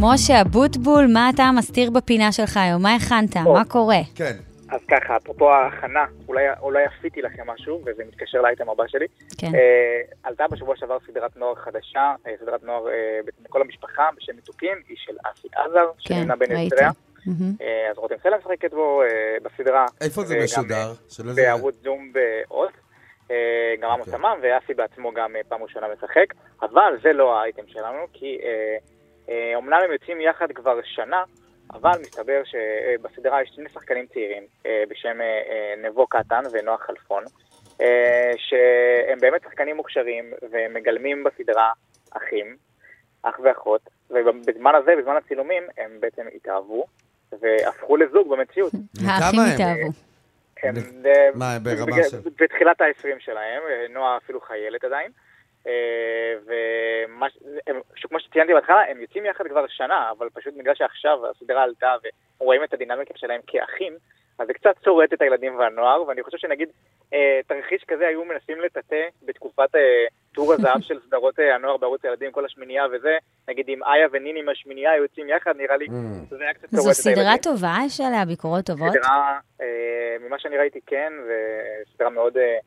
Speaker 2: משה אבוטבול, מה אתה מסתיר בפינה שלך היום? מה הכנת? מה קורה?
Speaker 3: כן.
Speaker 5: אז ככה, אפרופו ההכנה, אולי, אולי עשיתי לכם משהו, וזה מתקשר לאייטם הבא שלי.
Speaker 2: כן.
Speaker 5: אה, עלתה בשבוע שעבר סדרת נוער חדשה, אה, סדרת נוער אה, בעצם לכל המשפחה, בשם מתוקים, היא של אסי עזר,
Speaker 2: כן,
Speaker 5: שנמנה בין
Speaker 2: ראיתי.
Speaker 5: יוצריה.
Speaker 2: מהמם.
Speaker 5: אה, אז רותם סלע משחקת בו אה, בסדרה.
Speaker 3: איפה זה
Speaker 5: וגם,
Speaker 3: משודר?
Speaker 5: אה,
Speaker 3: שלא זה-
Speaker 5: בערוץ זום ועוד. אה, גם עמוס
Speaker 3: אוקיי.
Speaker 5: תמם, ואסי בעצמו גם אה, פעם ראשונה משחק. אבל זה לא האייטם שלנו, כי אה, אה, אומנם הם יוצאים יחד כבר שנה, אבל מסתבר שבסדרה יש שני שחקנים צעירים אה, בשם אה, אה, נבו קטן ונוח חלפון, אה, שהם באמת שחקנים מוכשרים ומגלמים בסדרה אחים, אח ואחות, ובזמן הזה, בזמן הצילומים, הם בעצם התאהבו והפכו לזוג במציאות.
Speaker 3: וכמה
Speaker 2: האחים
Speaker 3: הם?
Speaker 2: התאהבו.
Speaker 5: הם,
Speaker 3: ב-
Speaker 5: אה,
Speaker 3: מה, הם ברמה
Speaker 5: בג-
Speaker 3: של-
Speaker 5: בתחילת ה-20 שלהם, אה, נועה אפילו חיילת עדיין. אה, ומה ש- הם- שכמו שציינתי בהתחלה, הם יוצאים יחד כבר שנה, אבל פשוט בגלל שעכשיו הסדרה עלתה ורואים את הדינמיקה שלהם כאחים, אז זה קצת צורט את הילדים והנוער, ואני חושב שנגיד אה, תרחיש כזה היו מנסים לטאטא בתקופת אה, טור הזהב של סדרות אה, הנוער בערוץ הילדים, כל השמינייה וזה, נגיד אם איה וניני מהשמינייה היו יוצאים יחד, נראה
Speaker 3: Mm.
Speaker 5: לי זה היה קצת צורט את
Speaker 2: זו
Speaker 5: הילדים.
Speaker 2: סדרה טובה, יש עליה ביקורות טובות.
Speaker 5: סדרה, אה, ממה שאני ראיתי כן, וסדרה מאוד אה,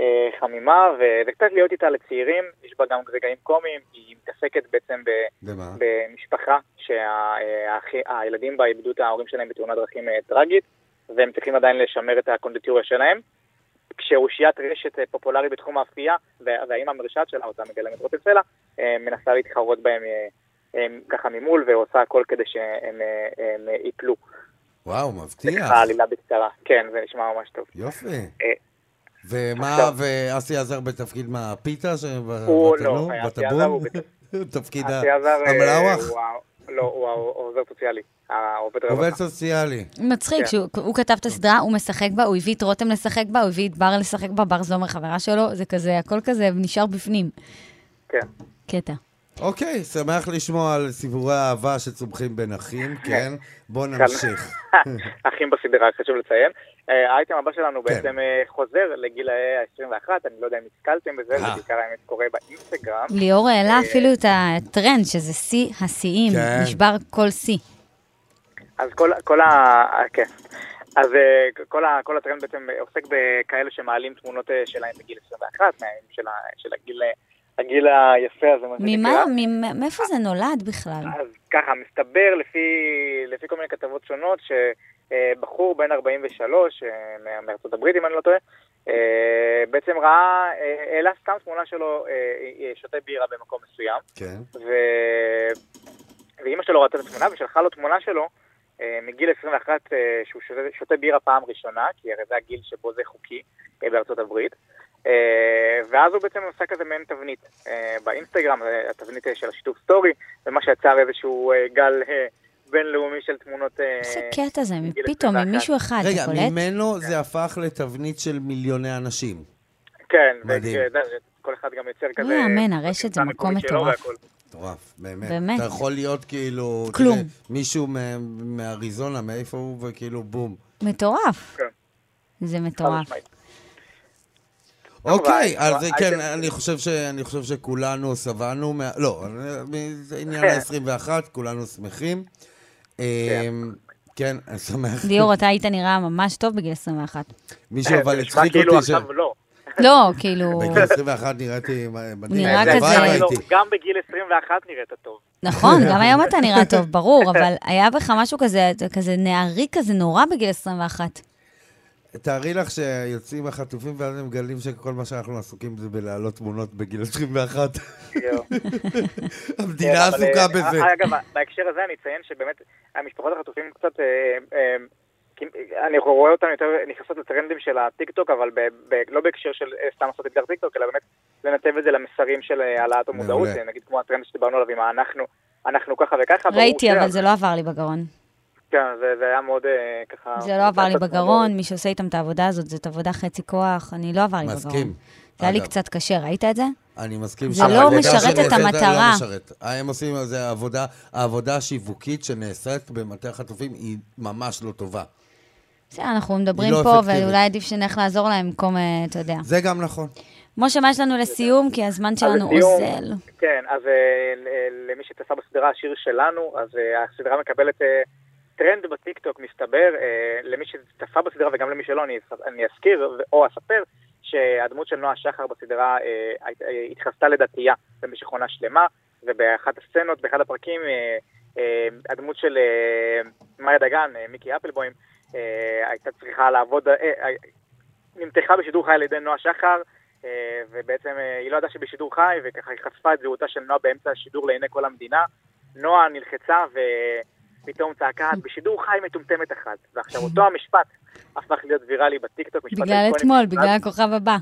Speaker 5: אה, חמימה, וזה קצת להיות איתה לצעירים, יש בה גם רגעים קומיים, היא מתעסקת בעצם ב,
Speaker 3: במה?
Speaker 5: במשפחה שהילדים בה איבדו את ההורים שלהם בתאונת דרכים אה, טראגית, והם צריכים עדיין לשמר את הקונדיטוריה שלהם. כשאושיית רשת אה, פופולרית בתחום האפייה, וה- והאימא המרשעת שלה, אותה מגלמת רוטל סלע, אה, מנסה להתחרות בהם אה, אה, ככה ממול, ועושה הכל כדי שהם אה, הם, אה, ייפלו.
Speaker 3: וואו, מבטיח.
Speaker 5: ככה עלילה בקצרה. כן, זה נשמע ממש טוב.
Speaker 3: יופי.
Speaker 5: אה,
Speaker 3: ומה,
Speaker 5: עכשיו-
Speaker 3: ואסי עזר בתפקיד מה? הפיתה? ש-
Speaker 5: הוא
Speaker 3: בתנור?
Speaker 5: לא, אסי
Speaker 3: בתבון?
Speaker 5: עזר הוא בתפקיד-
Speaker 3: תפקיד
Speaker 5: אסי עזר, אה,
Speaker 3: המלאווח?
Speaker 5: הוא ה- לא, הוא העוזר סוציאלי, העובד
Speaker 3: עובד
Speaker 5: רווחה.
Speaker 3: סוציאלי.
Speaker 2: מצחיק,
Speaker 5: כן.
Speaker 2: שהוא הוא כתב את הסדרה, הוא משחק בה, הוא הביא את רותם לשחק בה, הוא הביא את בר לשחק בה, בר זומר חברה שלו, זה כזה, הכל כזה נשאר בפנים.
Speaker 5: כן.
Speaker 2: קטע.
Speaker 3: אוקיי, שמח לשמוע על סיפורי האהבה שצומחים בין אחים, כן? בואו נמשיך.
Speaker 5: אחים בסדרה, חשוב לציין. אה, האייטם הבא שלנו
Speaker 3: כן.
Speaker 5: בעצם אה, חוזר לגילאי ה-21, אני לא יודע אם נתקלתם בזה, זה
Speaker 3: אה.
Speaker 5: בעיקר האמת קורה באינסטגרם.
Speaker 2: ליאור
Speaker 5: אה,
Speaker 2: העלה אפילו את הטרנד, שזה שיא השיאים,
Speaker 3: כן.
Speaker 2: נשבר כל שיא.
Speaker 5: אז כל, כל ה... אה, כן. אז אה, כל, ה, כל הטרנד בעצם עוסק בכאלה שמעלים תמונות אה, שלהם בגיל 21, מה- של, ה, של הגיל, אה, הגיל היפה הזה. מה זה אה,
Speaker 2: ממה,
Speaker 5: נקרא.
Speaker 2: ממ- מאיפה זה נולד בכלל?
Speaker 5: אז ככה, מסתבר לפי, לפי כל מיני כתבות שונות, שבחור בן 43, אה, מה- מארצות הברית אם אני לא טועה, אה, בעצם ראה, אה, העלה סתם תמונה שלו, אה, אה, שותה בירה במקום מסוים,
Speaker 3: כן.
Speaker 5: ו... ואימא שלו ראתה את התמונה ושלחה לו תמונה שלו אה, מגיל 21 אה, שהוא שותה, שותה בירה פעם ראשונה, כי הרי זה הגיל שבו זה חוקי אה, בארצות הברית. אה, ואז הוא בעצם עשה כזה מעין תבנית אה, באינסטגרם, אה, התבנית אה, של השיתוף סטורי, ומה שיצר איזשהו אה, גל אה, בינלאומי של תמונות... אה,
Speaker 2: איזה קטע זה,
Speaker 5: מגיל
Speaker 2: פתאום
Speaker 5: 21.
Speaker 2: ממישהו אחד,
Speaker 3: רגע,
Speaker 2: אתה קולט?
Speaker 3: ממנו זה הפך לתבנית של מיליוני אנשים.
Speaker 5: כן,
Speaker 3: מדהים.
Speaker 5: וכן, כל אחד גם יוצר כזה...
Speaker 2: לא יאמן, הרשת זה
Speaker 5: גרסה
Speaker 2: מקום
Speaker 5: מקומית שלו
Speaker 2: מטורף.
Speaker 5: והכל.
Speaker 3: מטורף, באמת.
Speaker 2: באמת.
Speaker 3: אתה יכול להיות כאילו...
Speaker 2: כלום.
Speaker 3: תראה, מישהו מה- מאריזונה, מאיפה הוא, וכאילו בום.
Speaker 2: מטורף.
Speaker 5: כן.
Speaker 2: זה
Speaker 5: חד
Speaker 2: מטורף.
Speaker 5: משמעית.
Speaker 3: אוקיי,
Speaker 5: לא, אבל-
Speaker 3: אז זה
Speaker 5: אבל-
Speaker 3: כן,
Speaker 5: אל-
Speaker 3: אני חושב ש- אני חושב שכולנו שבענו, מה- לא, זה עניין
Speaker 5: כן.
Speaker 3: ה-21, כולנו שמחים. אמ, כן, אני שמח.
Speaker 2: ליאור, אתה היית נראה ממש טוב בגיל 21.
Speaker 3: מישהו אבל
Speaker 5: נשמע
Speaker 3: הצחיק
Speaker 5: כאילו
Speaker 3: אותי ש...
Speaker 5: עכשיו לא.
Speaker 2: לא, כאילו,
Speaker 3: בגיל 21 נראיתי מדהים.
Speaker 2: נראה
Speaker 3: הלוואי
Speaker 2: כזה.
Speaker 5: גם לא-
Speaker 3: והייתי.
Speaker 5: גם בגיל 21 נראית טוב.
Speaker 2: נכון, גם היום אתה נראה טוב, ברור, אבל היה בך משהו כזה, אתה כזה נערי כזה נורא בגיל 21.
Speaker 3: תארי לך שיוצאים החטופים ואז הם מגלים שכל מה שאנחנו עסוקים זה בלהעלות תמונות בגיל 21.
Speaker 5: יואו. כן,
Speaker 3: המדינה
Speaker 5: אבל,
Speaker 3: עסוקה
Speaker 5: אה,
Speaker 3: בזה.
Speaker 5: אה, אגב, בהקשר הזה אני אציין שבאמת המשפחות החטופים קצת... אה, אה, כי- אני רואה אותן יותר נכנסות לטרנדים של הטיקטוק, אבל ב, ב, לא בהקשר של אה, סתם לעשות את זה לטיקטוק, אלא באמת לנתב את זה למסרים של אה, העלאת המודעות,
Speaker 3: מעולה.
Speaker 5: נגיד כמו הטרנד שדיברנו עליו עם האנחנו, אנחנו ככה וככה. ברור
Speaker 2: ראיתי,
Speaker 5: ש-
Speaker 2: אבל זה לא עבר לי בגרון.
Speaker 5: כן, זה, זה היה מאוד אה, ככה...
Speaker 2: זה לא עבר לי בגרון, מי שעושה איתם את העבודה הזאת, זאת עבודה חצי כוח, אני לא עבר לי בגרון.
Speaker 3: מסכים.
Speaker 2: זה היה לי
Speaker 3: אגב.
Speaker 2: קצת קשה, ראית את זה?
Speaker 3: אני מסכים
Speaker 2: זה
Speaker 3: שהעבודה
Speaker 5: לא
Speaker 3: של
Speaker 5: משרת את
Speaker 3: זה- זה
Speaker 2: המטרה.
Speaker 3: לא משרת. הם עושים על זה העבודה, העבודה השיווקית שנעשית במטה החטופים היא ממש לא טובה.
Speaker 2: בסדר, אנחנו מדברים
Speaker 3: לא
Speaker 2: פה,
Speaker 3: אפקטיבית.
Speaker 2: ואולי עדיף שנלך לעזור להם במקום, אה, אתה יודע.
Speaker 3: זה גם נכון.
Speaker 2: משה, מה יש לנו לסיום? כי הזמן
Speaker 5: אז
Speaker 2: שלנו
Speaker 5: לסיום,
Speaker 2: אוזל.
Speaker 5: כן, אז אה, ל- למי שצפה בסדרה, השיר שלנו, אז אה, הסדרה מקבלת אה, טרנד בטיקטוק, מסתבר. אה, למי שצפה בסדרה וגם למי שלא, אני, אס- אני אזכיר ו- או אספר שהדמות של נועה שחר בסדרה אה, הת- אה, התחזתה לדתייה במשך עונה שלמה, ובאחת הסצנות, באחד הפרקים, אה, אה, הדמות של אה, מאיה דגן, אה, מיקי אפלבוים, אה, הייתה צריכה לעבוד... אה, אה, נמתחה בשידור חי על ידי נועה שחר, אה, ובעצם אה, היא לא ידעה שבשידור חי, וככה היא חשפה את זהותה של נועה באמצע השידור לעיני כל המדינה. נועה נלחצה ופתאום צעקה, "את בשידור חי מטומטמת אחת. ועכשיו אותו המשפט הפך להיות ויראלי בטיקטוק. משפט
Speaker 2: בגלל
Speaker 5: איקוני
Speaker 2: אתמול,
Speaker 5: שנכנס-
Speaker 2: בגלל הכוכב הבא.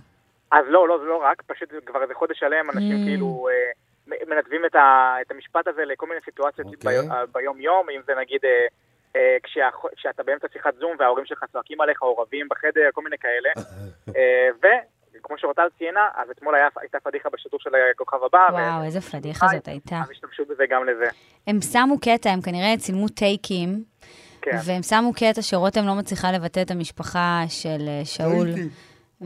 Speaker 5: אז לא, לא, זה לא רק, פשוט כבר איזה חודש שלם אנשים
Speaker 2: Mm.
Speaker 5: כאילו אה, מ- מנתבים את, ה, את המשפט הזה לכל מיני סיטואציות
Speaker 3: אוקיי.
Speaker 5: בי, אה, ביום-יום, אם זה נגיד אה, אה, כשהח- כשאתה באמצע שיחת זום וההורים שלך צועקים עליך או רבים בחדר, כל מיני כאלה. אה, וכמו שאורטל ציינה, אז אתמול היה, הייתה פדיחה בשידור של הכוכב
Speaker 3: אה,
Speaker 5: הבא.
Speaker 2: וואו,
Speaker 5: ו-
Speaker 2: איזה פדיחה זאת הייתה.
Speaker 5: אז השתמשו בזה גם לזה.
Speaker 2: הם שמו קטע, הם כנראה צילמו טייקים,
Speaker 5: כן.
Speaker 2: והם שמו קטע שרותם לא מצליחה לבטא את המשפחה של אה, שאול,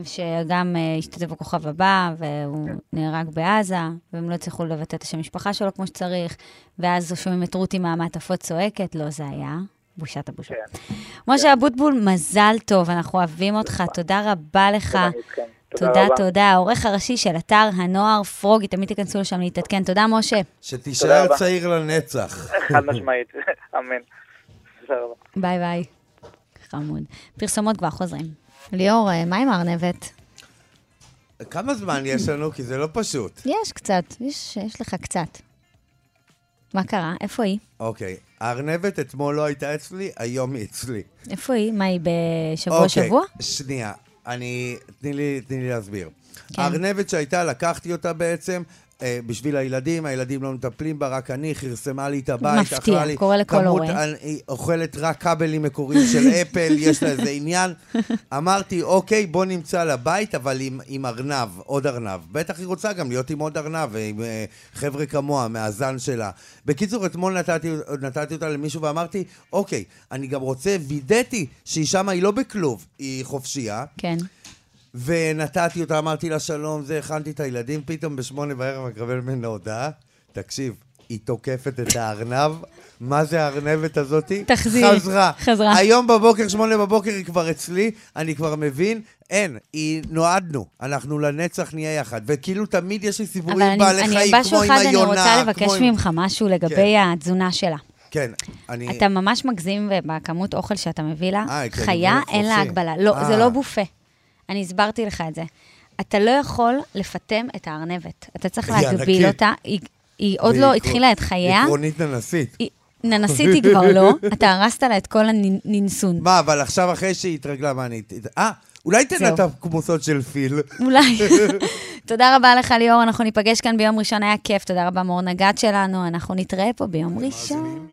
Speaker 2: שגם אה, השתתף בכוכב הבא, והוא נהרג בעזה, והם לא הצליחו לבטא את השם משפחה שלו כמו שצריך, ואז שומעים את רותי מהמעטפות צועקת, לא, זה היה בושת הבושה.
Speaker 5: כן.
Speaker 2: משה אבוטבול, מזל טוב, אנחנו אוהבים אותך, תודה רבה לך.
Speaker 5: גם איתכם.
Speaker 2: תודה, תודה. העורך הראשי של אתר הנוער פרוגי, תמיד תיכנסו לשם להתעדכן. תודה, משה.
Speaker 3: שתישאר
Speaker 5: רבה.
Speaker 3: צעיר לנצח.
Speaker 5: חד משמעית, אמן. תודה רבה.
Speaker 2: ביי ביי. חמוד. פרסומות כבר חוזרים. ליאור, אה, מה עם הארנבת?
Speaker 3: כמה זמן יש לנו? כי זה לא פשוט.
Speaker 2: יש קצת, יש, יש לך קצת. מה קרה? איפה היא?
Speaker 3: אוקיי, הארנבת אתמול לא הייתה אצלי, היום היא אצלי.
Speaker 2: איפה היא? מה היא, בשבוע-שבוע?
Speaker 3: אוקיי, שנייה, אני... תני לי, תני לי להסביר.
Speaker 2: כן.
Speaker 3: הארנבת שהייתה, לקחתי אותה בעצם. אה, בשביל הילדים, הילדים לא מטפלים בה, רק אני, כרסמה לי את הבית,
Speaker 2: מפתיע,
Speaker 3: אכלה לי.
Speaker 2: קורה לכל
Speaker 3: כמות
Speaker 2: הורה.
Speaker 3: אני- היא אוכלת רק כבלים מקוריים של אפל, יש לה איזה עניין. אמרתי, אוקיי, בוא נמצא לה בית, אבל עם, עם ארנב, עוד ארנב. בטח היא רוצה גם להיות עם עוד ארנב, ועם אה, חבר'ה כמוה, מהזן שלה. בקיצור, אתמול נתתי, נתתי אותה למישהו ואמרתי, אוקיי, אני גם רוצה, וידאתי שהיא שמה, היא לא בכלוב, היא חופשייה.
Speaker 2: כן.
Speaker 3: ונתתי אותה, אמרתי לה שלום, זה, הכנתי את הילדים, פתאום בשמונה בערב אני מקבל ממנה הודעה, תקשיב, היא תוקפת את הארנב, מה זה הארנבת הזאתי?
Speaker 2: תחזירי.
Speaker 3: חזרה.
Speaker 2: חזרה.
Speaker 3: היום בבוקר, שמונה בבוקר היא כבר אצלי, אני כבר מבין, אין, היא נועדנו, אנחנו לנצח נהיה יחד. וכאילו תמיד יש לי סיבורים
Speaker 2: אבל
Speaker 3: עם
Speaker 2: אני,
Speaker 3: בעלי
Speaker 2: אני
Speaker 3: חיים,
Speaker 2: משהו
Speaker 3: כמו עם
Speaker 2: אחד, אני
Speaker 3: היונה,
Speaker 2: רוצה לבקש
Speaker 3: כמו עם-
Speaker 2: ממך משהו לגבי התזונה שלה.
Speaker 3: כן, אני...
Speaker 2: אתה ממש מגזים בכמות אוכל שאתה מביא לה.
Speaker 3: אה, כי אני
Speaker 2: חיה,
Speaker 3: בא
Speaker 2: אין לה
Speaker 3: לחופשי.
Speaker 2: הגבלה. לא, זה
Speaker 3: אה.
Speaker 2: לא בופה. אני הסברתי לך את זה. אתה לא יכול לפטם את הארנבת. אתה צריך
Speaker 3: היא
Speaker 2: להגביל
Speaker 3: ענקית.
Speaker 2: אותה. היא- היא עוד
Speaker 3: והיא
Speaker 2: לא
Speaker 3: עקרון-
Speaker 2: התחילה את חייה.
Speaker 3: עקרונית ננסית.
Speaker 2: היא- ננסית היא כבר לא, אתה הרסת לה את כל הננסון.
Speaker 3: מה, אבל עכשיו אחרי שהיא התרגלה, מה אני... אה, אולי תן
Speaker 2: זהו.
Speaker 3: לה את הכמוסות של פיל.
Speaker 2: אולי. תודה רבה לך, ליאור, אנחנו ניפגש כאן ביום ראשון, היה כיף. תודה רבה, מור נגד שלנו, אנחנו נתראה פה ביום ראשון.